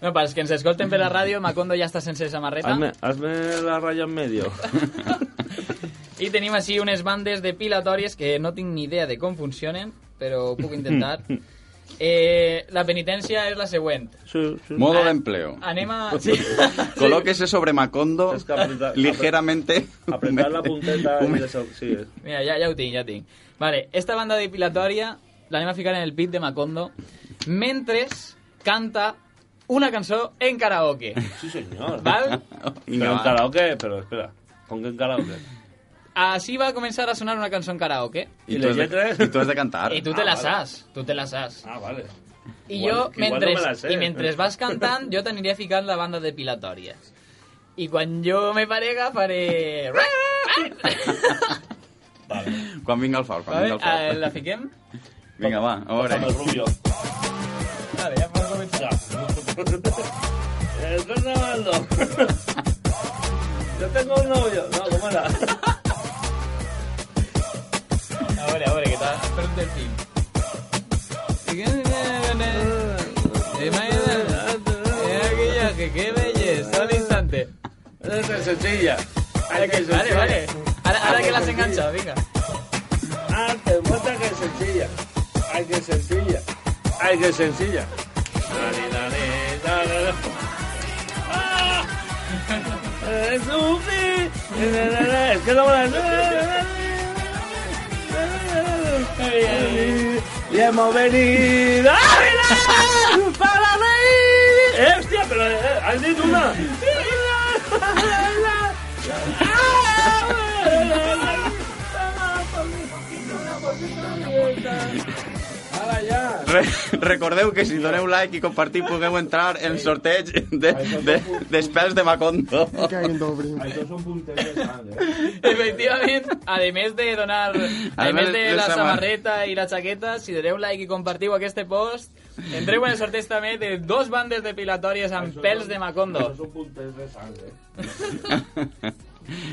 Speaker 3: No, pels que ens escolten per la ràdio, Macondo ja està sense samarreta.
Speaker 10: Hazme, hazme la raya en medio.
Speaker 3: I tenim així unes bandes depilatòries que no tinc ni idea de com funcionen, però ho puc intentar. Eh, la penitència és la següent.
Speaker 10: Sí, sí.
Speaker 4: Modo de empleo.
Speaker 3: Anem a... Sí.
Speaker 4: Colóquese sobre Macondo,
Speaker 10: Ah, que apretar-
Speaker 4: ligeramente...
Speaker 10: Apretar la punteta y
Speaker 4: humedece-
Speaker 10: eso, sí. es.
Speaker 3: Mira, ja, ja ho tinc, ja ho tinc. Vale, esta banda depilatòria l'anem a ficar en el pit de Macondo mentre canta una cançó en karaoke.
Speaker 10: Sí, señor.
Speaker 3: Val?
Speaker 4: Vinga,
Speaker 10: Pero en
Speaker 4: va.
Speaker 10: karaoke, pero espera. ¿Con qué en karaoke?
Speaker 3: Així va començar a sonar una cançó en karaoke.
Speaker 4: Y
Speaker 10: ¿Y
Speaker 4: tú,
Speaker 10: las
Speaker 4: has
Speaker 10: letras?
Speaker 4: de, y tú has de cantar.
Speaker 3: I tu te la saps, tu te la saps.
Speaker 10: Ah, vale.
Speaker 3: I
Speaker 10: Igual-
Speaker 3: jo,
Speaker 10: que igual
Speaker 3: mentre,
Speaker 10: no me la sé.
Speaker 3: i mentre vas cantant, jo t'aniria ficant la banda depilatòria. I quan jo me parega faré...
Speaker 10: Vale.
Speaker 4: Quan vinga el fal, quan
Speaker 3: Vale, eh,
Speaker 4: vinga el fal.
Speaker 3: la fiquem?
Speaker 4: Vinga, va, a
Speaker 10: Pásame el
Speaker 4: veure.
Speaker 10: rubio.
Speaker 3: Vale, ja pots començar.
Speaker 10: Ya. El carnaval no. Yo tengo un novio. No, ¿cómo era?
Speaker 3: A veure, a veure, què tal? Espera't del film. Aquella, que qué belleza, al instante.
Speaker 10: Es de sencilla. Hay que
Speaker 3: Vale,
Speaker 10: sencilla.
Speaker 3: vale. Ara, ara que l'has enganxat, vinga.
Speaker 10: Ah, te muestra que es sencilla. Ay, que sencilla. Ay, que sencilla. Dale, dale, dale, dale. ¡Ah! Es un fin. Na, na, na. Es que no me la- na, na, na, na. Y hemos venido a bailar para reír. Eh, Hostia, pero eh, has dicho una.
Speaker 4: Re recordeu que si doneu like i compartiu podeu entrar en sorteig d'espels de, de, de, de Macondo.
Speaker 8: Que hay en doble.
Speaker 3: Efectivament, a més de donar a
Speaker 4: més
Speaker 3: més de
Speaker 4: de
Speaker 3: la
Speaker 4: samar-
Speaker 3: samarreta i la jaqueta, si doneu like i compartiu aquest este post, entreu en el sorteig també de dos bandes depilatòries amb pèls de Macondo.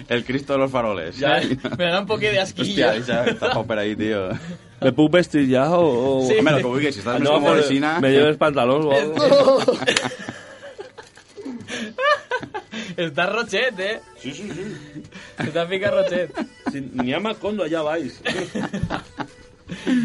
Speaker 4: El Cristo de los faroles.
Speaker 3: Ja, me da un poquito de asquillo.
Speaker 4: Hòstia, ja està por ahí, tío.
Speaker 10: ¿Me puedo vestir ya o...?
Speaker 3: Sí.
Speaker 4: Home, el que vulguis, si estàs més
Speaker 10: No,
Speaker 4: còmode
Speaker 10: pero
Speaker 4: així...
Speaker 10: me lleves pantalón o algo.
Speaker 3: Está Rochet, eh.
Speaker 10: Sí, sí, sí.
Speaker 3: Está pica Rochet.
Speaker 10: Si ni a Macondo allá vais.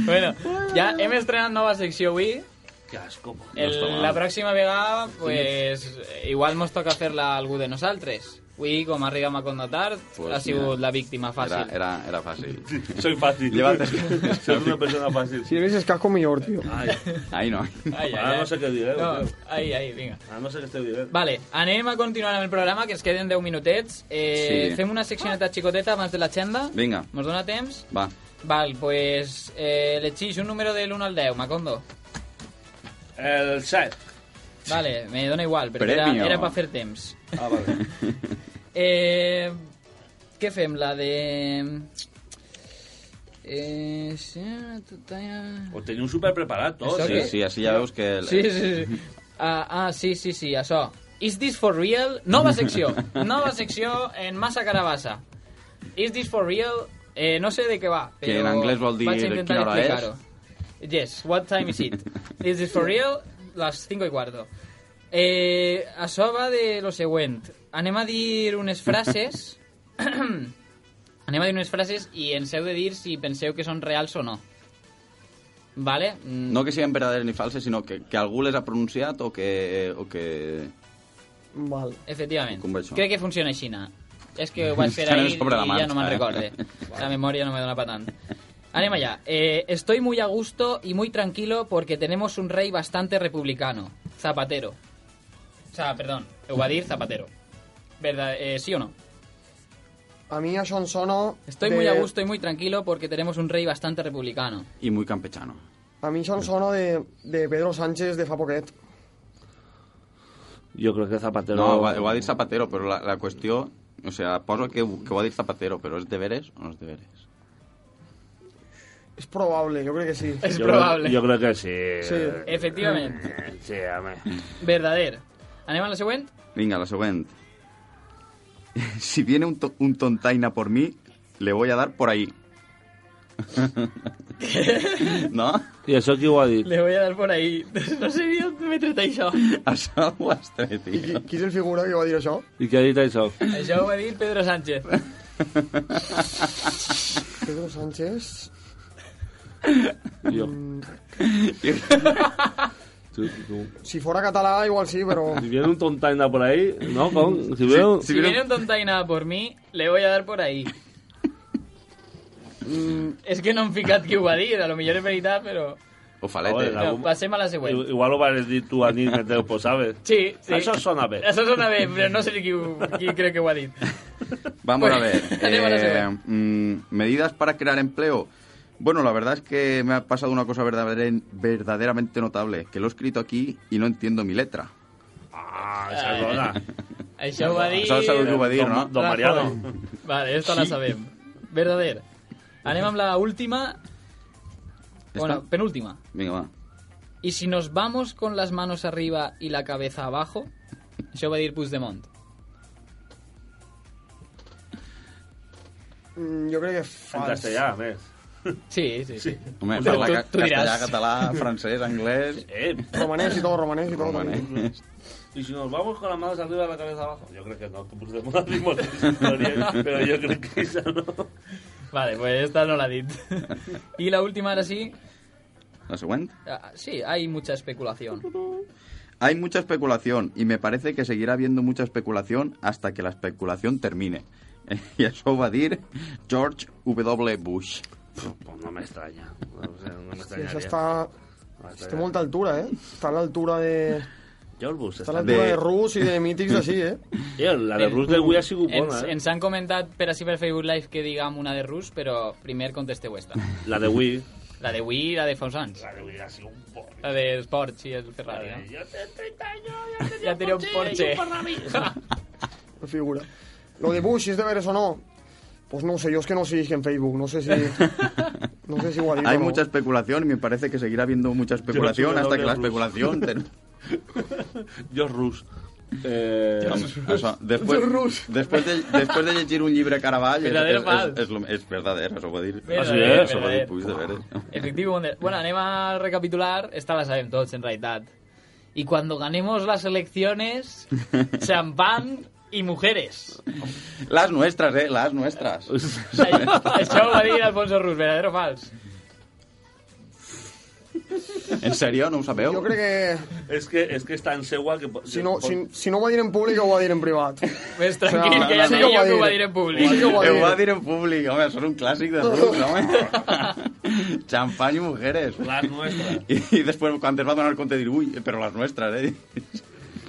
Speaker 3: Bueno, ja hem estrenat nova secció avui.
Speaker 10: Qué asco. po.
Speaker 3: El,
Speaker 4: està mal.
Speaker 3: la pròxima vegada, pues, eh, igual mos toca fer-la a algú de nosaltres. Avui, com arriba Macondo tard,
Speaker 4: Pues
Speaker 3: ha sigut
Speaker 4: mira,
Speaker 3: la víctima
Speaker 4: Era,
Speaker 3: fàcil.
Speaker 4: era, era fàcil.
Speaker 10: Soy fácil.
Speaker 4: Llévate.
Speaker 10: Soy una persona Pues fácil.
Speaker 8: Si eres casco mejor, tío.
Speaker 10: Ay,
Speaker 4: Ahí no.
Speaker 3: Ai, ai,
Speaker 10: ahora
Speaker 3: ai.
Speaker 10: no sé qué diré.
Speaker 3: No,
Speaker 10: tío.
Speaker 3: ai, ai, vinga.
Speaker 10: Ahora no sé qué estoy diré.
Speaker 3: Vale, anem a continuar amb el programa, que ens queden 10 minutets. Eh,
Speaker 4: Sí.
Speaker 3: Fem una seccioneta xicoteta abans de l'agenda.
Speaker 4: Vinga.
Speaker 3: Mos dona temps?
Speaker 4: Va.
Speaker 3: Val, pues eh, le chis un número del 1 al 10, Macondo.
Speaker 10: El set.
Speaker 3: Vale, me dona igual, però era,
Speaker 4: Premio.
Speaker 3: era per fer temps.
Speaker 10: Ah, vale.
Speaker 3: Eh, què fem? La de... Eh, sí, tu talla-
Speaker 10: Os Pues tenía un súper preparado todo.
Speaker 3: Eso
Speaker 4: Sí,
Speaker 3: que-
Speaker 4: sí, així ja veus que... El,
Speaker 3: sí,
Speaker 4: eh.
Speaker 3: sí, sí. Ah, ah, sí, sí, sí, això. Is this for real? Nova secció. Nova secció en massa carabassa. Is this for real? Eh, no sé de què va, però
Speaker 4: Que en anglès vol dir
Speaker 3: vaig intentar
Speaker 4: quina hora és.
Speaker 3: explicar-ho. Yes, what time is it? Is this for real? Les 5 i quarto. Eh, això va de lo següent. Anem a dir unes frases... Anem a dir unes frases i ens heu de dir si penseu que són reals o no. Vale? Mm,
Speaker 4: No que siguin verdaderes ni falses, sinó que, que algú les ha pronunciat o que... O que...
Speaker 8: Vale.
Speaker 3: Efectivament.
Speaker 4: Com va això?
Speaker 3: Crec que funciona així, na. És que ho vaig fer
Speaker 4: Estarem
Speaker 3: ahir i
Speaker 4: sobre la
Speaker 3: ja no me'n
Speaker 4: marxa, eh?
Speaker 3: recorde. La memòria no me dona pa tant. Anem allá. Eh, estoy muy a gusto y muy tranquilo porque tenemos un rey bastante republicano. Zapatero. O sea, perdón, ho va dir Zapatero. ¿Verdad? Eh, ¿Sí o no?
Speaker 8: A mí a Sean Sono...
Speaker 3: Estoy muy a gusto y muy tranquilo porque tenemos un rey bastante republicano.
Speaker 4: I muy campechano.
Speaker 8: A mí Sean Sono de, de Pedro Sánchez de Fapoquet.
Speaker 10: Yo creo que Zapatero.
Speaker 4: No, ho ha, ho ha dit Zapatero, però la, la qüestió O sea, poso que, ho- que ho ha dit Zapatero, però és deberes o no és deberes?
Speaker 8: Es probable, yo creo que sí.
Speaker 3: Es probable.
Speaker 10: Crec, jo crec que sí.
Speaker 8: Sí.
Speaker 3: Efectivament.
Speaker 10: Sí, home.
Speaker 3: Verdader. Anem a la següent?
Speaker 4: Vinga, la següent. Si viene un, to- un tontaina por mí, le voy a dar por ahí. no?
Speaker 10: I això qui ho ha dit?
Speaker 3: Le voy a dar por ahí. No sé ni on m'he tret això.
Speaker 4: Això ho has tret,
Speaker 8: ¿Y qui,
Speaker 4: tio.
Speaker 8: qui és el figura que va a dir això?
Speaker 10: I què ha dit això?
Speaker 3: Això ho va dir Pedro Sánchez.
Speaker 8: Pedro Sánchez...
Speaker 10: Jo. Tu, tu.
Speaker 8: Si fuera català, igual sí, pero...
Speaker 10: Si viene un tontaina por ahí, ¿no? Con, si veo...
Speaker 3: Si viene un tontaina por mí, le voy a dar por ahí. és que no em hem ficat qui ho va dir, a lo millor és veritat, però...
Speaker 4: Ofalete.
Speaker 10: Hola.
Speaker 3: No, passem a la següent.
Speaker 10: Igual lo vas a decir tú a mí, que te lo sabes.
Speaker 3: Sí, sí.
Speaker 10: Això sona bé.
Speaker 3: Això sona bé, però no sé qui, ho- qui crec que ho ha dit.
Speaker 4: Vamos a ver. eh,
Speaker 3: Bueno, anem a la següent.
Speaker 4: mm, medidas para crear empleo. Bueno, la verdad es que me ha pasado una cosa verdader- verdaderamente notable, que lo he escrito aquí y no entiendo mi letra.
Speaker 10: Ah, perdona.
Speaker 3: Eh, Això ho va dir...
Speaker 4: Això sabeu que ho va dir,
Speaker 10: Don-
Speaker 4: no?
Speaker 10: Don Mariano.
Speaker 3: Vale, esta la sabem. Verdader. Anem amb la última... Bueno, penúltima.
Speaker 4: Vinga, va.
Speaker 3: Y si nos vamos con las manos arriba y la cabeza abajo, això ho va dir Puigdemont.
Speaker 8: Mm, jo crec que
Speaker 10: En
Speaker 8: fals.
Speaker 10: castellà, a més.
Speaker 3: Sí, sí, sí.
Speaker 4: Home,
Speaker 3: Però
Speaker 4: parla
Speaker 3: Pues tu-
Speaker 4: ca-
Speaker 3: tu diràs.
Speaker 4: castellà, català, francès, anglès...
Speaker 10: Eh,
Speaker 8: Romanès i tot, romanès i tot.
Speaker 4: Romanès.
Speaker 10: y si nos vamos con las manos arriba y la cabeza abajo. Yo creo que no, que Puigdemont hacemos historia, pero yo creo que esa no.
Speaker 3: Vale, pues esta no la dit. y la última ahora sí.
Speaker 4: La següent.
Speaker 3: Ah, Sí, hay mucha especulación.
Speaker 4: Hay mucha especulación y me parece que seguirá habiendo mucha especulación hasta que la especulación termine. I això ho va dir George W. Bush.
Speaker 10: Pues no me extraña. No, sé, no me
Speaker 8: Sí,
Speaker 10: extrañaría.
Speaker 8: això està...
Speaker 10: No me
Speaker 8: Té
Speaker 10: extrañaría.
Speaker 8: molta altura, eh? Està a l'altura de...
Speaker 10: George Bush
Speaker 8: Està
Speaker 10: està...
Speaker 8: a l'altura
Speaker 4: De-
Speaker 8: de... Rus i de mítics d'ací, eh?
Speaker 10: Tío, la de Rus de Wii ha sido
Speaker 3: Ens,
Speaker 10: bona, eh?
Speaker 3: ens han comentat per així per Facebook Live que digam una de Rus, però primer contesteu esta.
Speaker 10: La de Wii.
Speaker 3: La de Wii i la de fa uns anys.
Speaker 10: La de Wii ha sido un pobre.
Speaker 3: La de Sports i el Ferrari.
Speaker 10: Vale,
Speaker 3: No?
Speaker 10: Yo tengo 30 años, ya tenía
Speaker 3: Ja tenia un Porsche.
Speaker 8: La figura. Lo de Bush, és de veres o no? Pues no ho sé, jo és que no seguís en Facebook, no sé si... No sé si ho ha dit
Speaker 4: Hay
Speaker 8: o no.
Speaker 4: mucha especulación y me parece que seguirá habiendo mucha especulación
Speaker 10: George
Speaker 4: hasta que la
Speaker 10: W. Bush.
Speaker 4: especulación termine.
Speaker 10: George Rus. Eh,
Speaker 4: Home, això, després, després, de, després de llegir un llibre Caravall és,
Speaker 3: Verdader
Speaker 4: és, és,
Speaker 3: fals.
Speaker 4: és, lo- és verdader, això ho va dir.
Speaker 3: Verdader,
Speaker 4: Ah, sí, eh? Això ho va
Speaker 3: verdader.
Speaker 4: dir Puig de veres.
Speaker 3: Efectivo Wonder. Bueno, anem a recapitular. Esta la sabemos todos en realidad. Y cuando ganemos las elecciones, champán y mujeres.
Speaker 4: Les nuestras, eh? Les nuestras.
Speaker 3: Això ho va dir Alfonso Rus, verdadero o fals?
Speaker 4: En sèrio, no ho sabeu?
Speaker 8: Jo crec que
Speaker 10: es, que, es que es tan segua que... po-
Speaker 8: si no, si, si no ho va dir en públic, ho va dir en privat.
Speaker 3: Pues tranquil, que ja sé
Speaker 8: no, no,
Speaker 3: jo
Speaker 8: no.
Speaker 3: que ho va dir en
Speaker 8: Sí que
Speaker 3: públic.
Speaker 8: ho va
Speaker 4: Ho
Speaker 8: dir.
Speaker 4: va dir en públic, home, això és un clàssic de Rus, home. Champany i mujeres.
Speaker 10: La nuestra.
Speaker 4: I, i després, quan es va donar compte, dir, ui, però les nuestras, eh?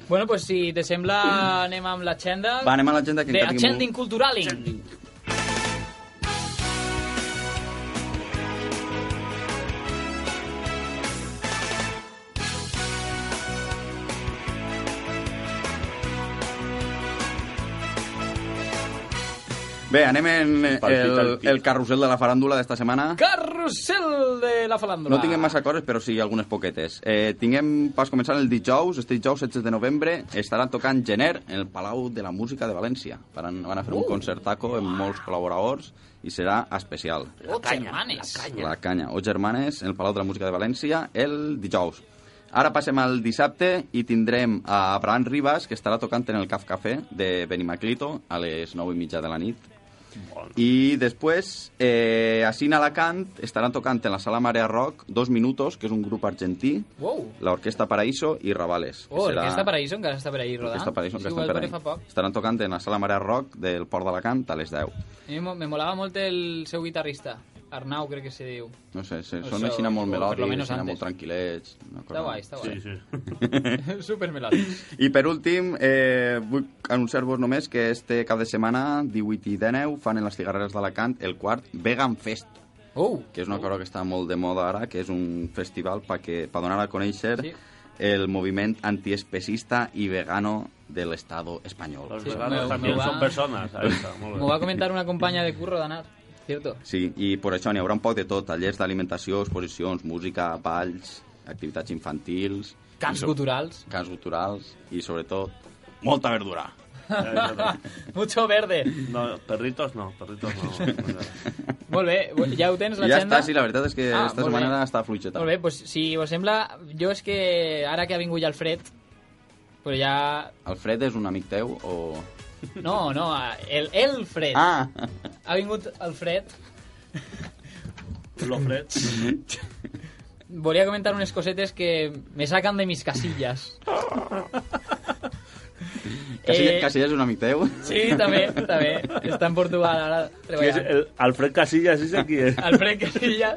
Speaker 3: Bueno, pues si te sembla, anem amb l'agenda.
Speaker 4: Va, anem a l'agenda que
Speaker 3: De
Speaker 4: encara
Speaker 3: Agending Culturaling.
Speaker 4: Bé, anem en eh,
Speaker 10: Palpita
Speaker 4: el,
Speaker 10: el pit.
Speaker 4: el carrusel de la faràndula d'esta setmana.
Speaker 3: Carrusel de la falándula.
Speaker 4: No tinguem massa coses, però sí algunes poquetes. Eh, tinguem, pas començar el dijous, este dijous 16 de novembre, estaran tocant Gener en el Palau de la Música de València. Van, van a fer un concertaco amb molts col·laboradors i serà especial.
Speaker 3: Oh, germanes.
Speaker 4: La canya. O germanes en el Palau de la Música de València el dijous. Ara passem al dissabte i tindrem a Abraham Ribas, que estarà tocant en el Caf Café de Benimaclito a les 9 i mitja de la nit. I després, eh, a Sina Alacant estaran tocant en la sala Marea Rock Dos Minutos, que és un grup argentí,
Speaker 3: Wow.
Speaker 4: la Orquesta Paraíso i Ravales. que
Speaker 3: Oh,
Speaker 4: serà-
Speaker 3: l'Orquesta Paraíso encara està per ahir rodant.
Speaker 4: Orquesta Paraíso, que
Speaker 3: Sí, ho
Speaker 4: estan
Speaker 3: vaig
Speaker 4: per
Speaker 3: veure fa
Speaker 4: ahí.
Speaker 3: poc.
Speaker 4: Estaran tocant en la sala Marea Rock del Port d'Alacant a les 10.
Speaker 3: A mi mo- me molava molt el seu guitarrista. Arnau, crec que se diu.
Speaker 4: No sé, sí,
Speaker 3: Això,
Speaker 4: són així molt
Speaker 3: o per lo
Speaker 4: melòdics,
Speaker 3: menos
Speaker 4: així
Speaker 3: antes.
Speaker 4: molt tranquil·lets. una cosa-
Speaker 3: Està guai, està guai.
Speaker 10: Sí, sí.
Speaker 4: Eh?
Speaker 3: Super melòdic.
Speaker 4: I per últim, eh, vull anunciar-vos només que este cap de setmana, 18 i 19, fan en les cigarreres d'Alacant el quart Vegan Fest,
Speaker 3: Oh,
Speaker 4: que és una cosa que està molt de moda ara, que és un festival per pa que- pa donar a conèixer
Speaker 3: Sí.
Speaker 4: el moviment antiespecista i vegano de l'Estado espanyol.
Speaker 10: Los veganos también son personas. Ahí está, molt bé.
Speaker 3: Me va a comentar una compañía de curro, Danar. ¿Cierto?
Speaker 4: Sí, i per això n'hi haurà un poc de tot, tallers d'alimentació, exposicions, música, balls, activitats infantils...
Speaker 3: Camps
Speaker 4: i so-
Speaker 3: culturals.
Speaker 4: Camps culturals i, sobretot, molta verdura.
Speaker 3: Mucho verde.
Speaker 10: No, perritos no, perritos no.
Speaker 3: Molt bé, ja ho tens,
Speaker 4: I ja
Speaker 3: l'agenda?
Speaker 4: està, sí, la veritat és que
Speaker 3: Ah,
Speaker 4: esta
Speaker 3: molt bé.
Speaker 4: setmana està fluixeta.
Speaker 3: Molt bé, doncs si us sembla, jo és que ara que ha vingut ja el Fred, però ja...
Speaker 4: Alfred és un amic teu o...?
Speaker 3: No, no, el, el Fred.
Speaker 4: Ah!
Speaker 3: Ha vingut el Fred.
Speaker 10: Los freds.
Speaker 3: Volia comentar unes cosetes que me sacan de mis casillas.
Speaker 4: Casilla-
Speaker 3: Eh,
Speaker 4: Casillas és un amic teu?
Speaker 3: Sí, també, també. Està en Portugal ara
Speaker 10: Qui és
Speaker 3: treballant.
Speaker 10: el Alfred Casillas, ese qui és?
Speaker 3: Alfred Casillas.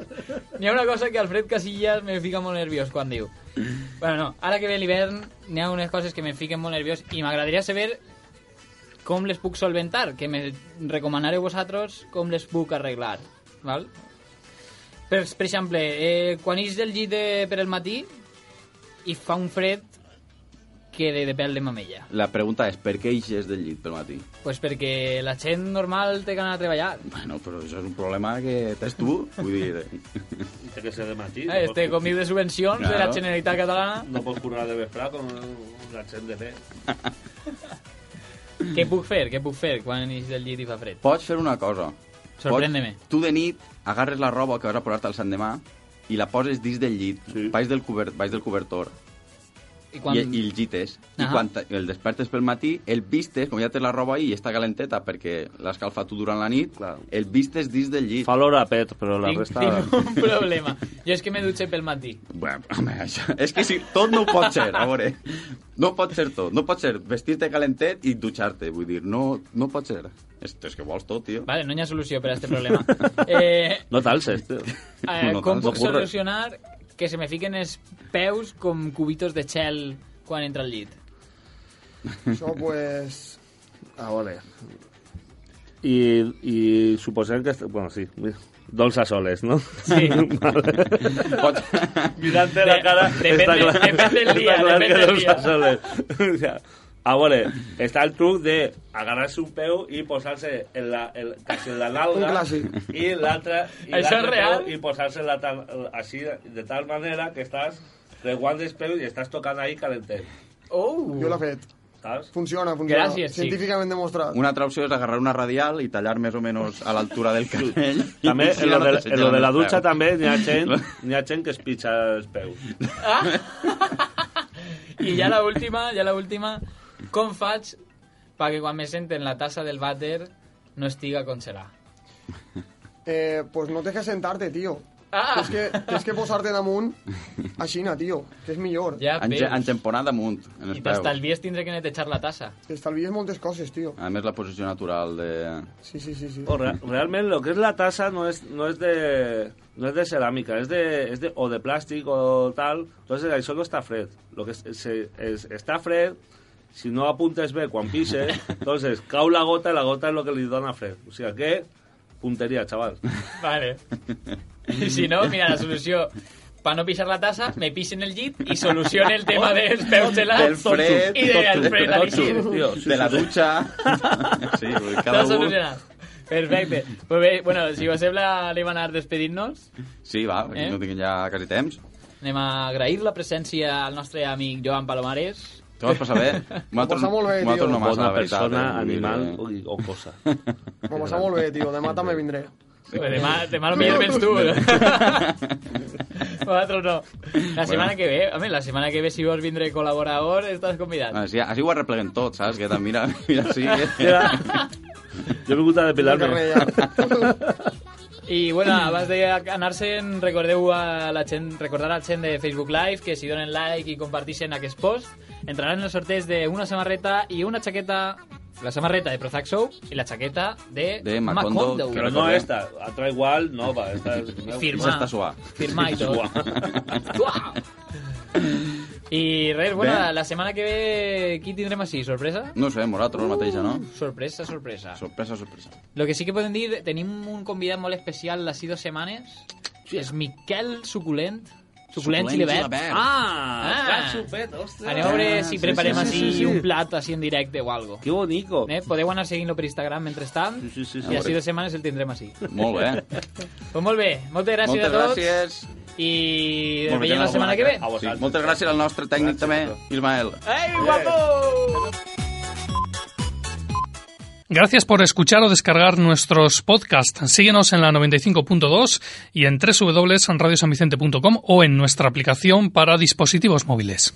Speaker 3: N'hi ha una cosa que Alfred Casillas me fica molt nerviós quan diu. Bueno, no, ara que ve l'hivern n'hi ha unes coses que me fiquen molt nerviós i m'agradaria saber com les puc solventar, que me recomanareu vosaltres com les puc arreglar, val? Per, per exemple, eh, quan ix del llit de, per el matí i fa un fred que de, de pèl de mamella.
Speaker 4: La pregunta és, per què eixes del llit pel matí?
Speaker 3: pues perquè la gent normal té que anar a treballar.
Speaker 4: Bueno, però això és un problema que tens tu, vull dir...
Speaker 10: Té que ser de matí.
Speaker 3: Eh,
Speaker 10: no,
Speaker 3: este
Speaker 10: pots,
Speaker 3: comiu de subvencions de la
Speaker 4: Claro.
Speaker 3: Generalitat Catalana.
Speaker 10: no pots currar de vesprà com la gent de fer.
Speaker 3: Què puc fer? Què puc fer quan ix del llit i fa fred?
Speaker 4: Pots fer una cosa.
Speaker 3: Sorprèndeme.
Speaker 4: Pots- Tu de nit agarres la roba que vas a posar-te al sant demà i la poses dins del llit,
Speaker 10: Sí.
Speaker 4: baix, del cobert, baix del cobertor,
Speaker 3: I
Speaker 4: quan...
Speaker 3: quan...
Speaker 4: i, i el gites. I
Speaker 3: Ahà.
Speaker 4: quan te- el despertes pel matí, el vistes, com ja tens la roba ahí i està calenteta perquè l'has calfat tu durant la nit,
Speaker 10: Clar.
Speaker 4: el vistes dins del llit.
Speaker 10: Fa l'hora pet, però la
Speaker 3: tinc,
Speaker 10: resta...
Speaker 3: tinc un problema. Jo és que me dutxe pel matí.
Speaker 4: Bueno, home, això... És que si, tot no ho pot ser, a veure. No pot ser tot. No pot ser vestir-te calentet i dutxar-te. Vull dir, no, no pot ser. És, és que vols tot, tio.
Speaker 3: Vale, no hi ha solució per a aquest problema. Eh,
Speaker 10: No t'alces, tio.
Speaker 3: eh,
Speaker 4: No,
Speaker 3: com
Speaker 4: no
Speaker 3: puc
Speaker 4: t'ocurre.
Speaker 3: solucionar que se me fiquen els peus com cubitos de gel quan entra al llit?
Speaker 8: Això, pues... A veure...
Speaker 10: I, i suposem que... est- Bueno, sí. Doncs a soles, no?
Speaker 3: Sí.
Speaker 10: Vale.
Speaker 4: Pot...
Speaker 10: Mirant-te la
Speaker 3: De-
Speaker 10: cara...
Speaker 3: depèn
Speaker 10: està
Speaker 3: de-
Speaker 10: clar,
Speaker 3: depèn del dia,
Speaker 10: Està clar
Speaker 3: depèn
Speaker 10: que
Speaker 3: del
Speaker 10: dels
Speaker 3: dia.
Speaker 10: assoles. O sea, a veure, està el truc de agarrar-se un peu i posar-se en la, en, quasi en la
Speaker 8: Un
Speaker 10: nalga
Speaker 8: clàssic.
Speaker 10: i l'altre i l'altre
Speaker 3: Això és real?
Speaker 10: peu i posar-se en la tal- així de tal manera que estàs reguant els peus i estàs tocant ahí calentet.
Speaker 3: Oh!
Speaker 8: Jo l'he fet.
Speaker 10: Saps?
Speaker 8: Funciona, funciona.
Speaker 3: Gràcies, sí.
Speaker 8: Científicament demostrat.
Speaker 4: Una altra opció és agarrar una radial i tallar més o menys a l'altura del canell.
Speaker 10: També,
Speaker 4: I
Speaker 10: en lo, de,
Speaker 4: te
Speaker 10: en lo de la
Speaker 4: segellan el
Speaker 10: dutxa
Speaker 4: peu.
Speaker 10: també n'hi ha, gent, n'hi ha gent que es pitja els peus.
Speaker 3: I ja la última, ja la última. Com faig perquè quan me senten la tassa del vàter no estiga com serà?
Speaker 8: Eh, pues no tens que sentar-te, tio.
Speaker 3: Ah!
Speaker 8: Tens que, tens que posar-te damunt aixina, tio, que és millor.
Speaker 3: Ja
Speaker 4: En,
Speaker 3: veus.
Speaker 4: ge- en temporada amunt, en
Speaker 3: I
Speaker 4: els peus.
Speaker 3: t'estalvies tindre que netejar la tassa.
Speaker 8: T'estalvies moltes coses, tio.
Speaker 4: A més, la posició natural de...
Speaker 8: Sí, sí, sí. sí.
Speaker 10: O Oh, re- realment lo que es la tasa no es no es de no es de cerámica, es de es de o de plástico o tal, entonces ahí solo está Fred. Lo que es- se- es- está Fred si no apuntes B cuando pise, entonces cau la gota y la gota es lo que le dona a Fred. O sea que puntería, chaval.
Speaker 3: Vale. I si no, mira, la solució per no pixar la tassa, me pixen el llit i solucione el tema dels peus
Speaker 4: Del
Speaker 3: gelats
Speaker 4: fred,
Speaker 3: i de
Speaker 4: tot tu,
Speaker 3: Alfred
Speaker 4: tot
Speaker 3: Alixir.
Speaker 4: tu,
Speaker 10: Tío, sí,
Speaker 4: de la
Speaker 10: sí.
Speaker 4: dutxa... sí, vull dir,
Speaker 3: Està
Speaker 4: cada un...
Speaker 3: solucionat. Perfecte. Pues bé, bueno, si us sembla, anem a anar despedint-nos.
Speaker 4: Sí, va,
Speaker 3: Eh?
Speaker 4: eh? no tinc ja quasi temps.
Speaker 3: Anem a agrair la presència al nostre amic Joan Palomares.
Speaker 4: Te vas passar bé? Nosaltres,
Speaker 8: passar molt bé, tio.
Speaker 4: nosaltres no massa,
Speaker 10: Bona
Speaker 4: la veritat.
Speaker 10: persona,
Speaker 4: eh? Vull dir,
Speaker 10: animal
Speaker 4: eh,
Speaker 10: o, o cosa.
Speaker 8: M'ho passar molt bé, tio. Demà també vindré.
Speaker 3: Pues demà, demà potser vens tu. Vosaltres no. La setmana que ve, home, la setmana que ve, si vols vindre col·laborador, estàs convidat.
Speaker 4: Així, així ho arrepleguem tot, saps? Que tant, mira, mira, sí. Eh?
Speaker 10: Mira, yo me gusta depilarme.
Speaker 3: I, bueno, abans d'anar-se'n, recordeu a la gent, recordar a la gent de Facebook Live que si donen like i compartixen aquest post, entraran en els sorteig d'una samarreta i una chaqueta la samarreta de Prozac Show i la chaqueta de,
Speaker 4: De Macondo, que
Speaker 10: Pero no esta, otra igual, no, va, esta es
Speaker 3: Firma.
Speaker 4: Esa està suà.
Speaker 3: Firmar i tot. Uah. I res, bueno,
Speaker 4: Bé.
Speaker 3: la setmana que ve qui tindrem així? Sorpresa?
Speaker 4: No ho sé, vosaltres uh. mateixa, no?
Speaker 3: Sorpresa, sorpresa.
Speaker 4: Sorpresa, sorpresa.
Speaker 3: Lo que sí que podem dir, tenim un convidat molt especial d'ací dues setmanes. És Miquel Suculent, Suculent xilivert.
Speaker 2: xilivert.
Speaker 3: Ah!
Speaker 2: Ah,
Speaker 10: xupet, ostres.
Speaker 3: Anem a veure
Speaker 10: Ah,
Speaker 3: si
Speaker 10: sí,
Speaker 3: preparem
Speaker 10: sí, sí,
Speaker 3: així
Speaker 10: sí, sí.
Speaker 3: un plat així en directe o algo.
Speaker 10: Que bonico.
Speaker 3: Eh? Podeu anar seguint-lo per Instagram mentrestant
Speaker 10: Sí, sí, sí, sí.
Speaker 3: i així de setmanes el tindrem així.
Speaker 4: Molt bé.
Speaker 3: Pues molt bé, moltes gràcies
Speaker 4: Moltes
Speaker 3: a tots.
Speaker 4: gràcies.
Speaker 3: I ens
Speaker 4: Molt bé,
Speaker 3: veiem la
Speaker 4: bona
Speaker 3: setmana que ve.
Speaker 4: cara. A vosaltres. Sí, moltes gràcies al nostre tècnic també, Ismael.
Speaker 3: ¡Ey, guapo!
Speaker 1: Gracias por escuchar o descargar nuestros podcasts. Síguenos en la 95.2 y en www.radiosanvicente.com o en nuestra aplicación para dispositivos móviles.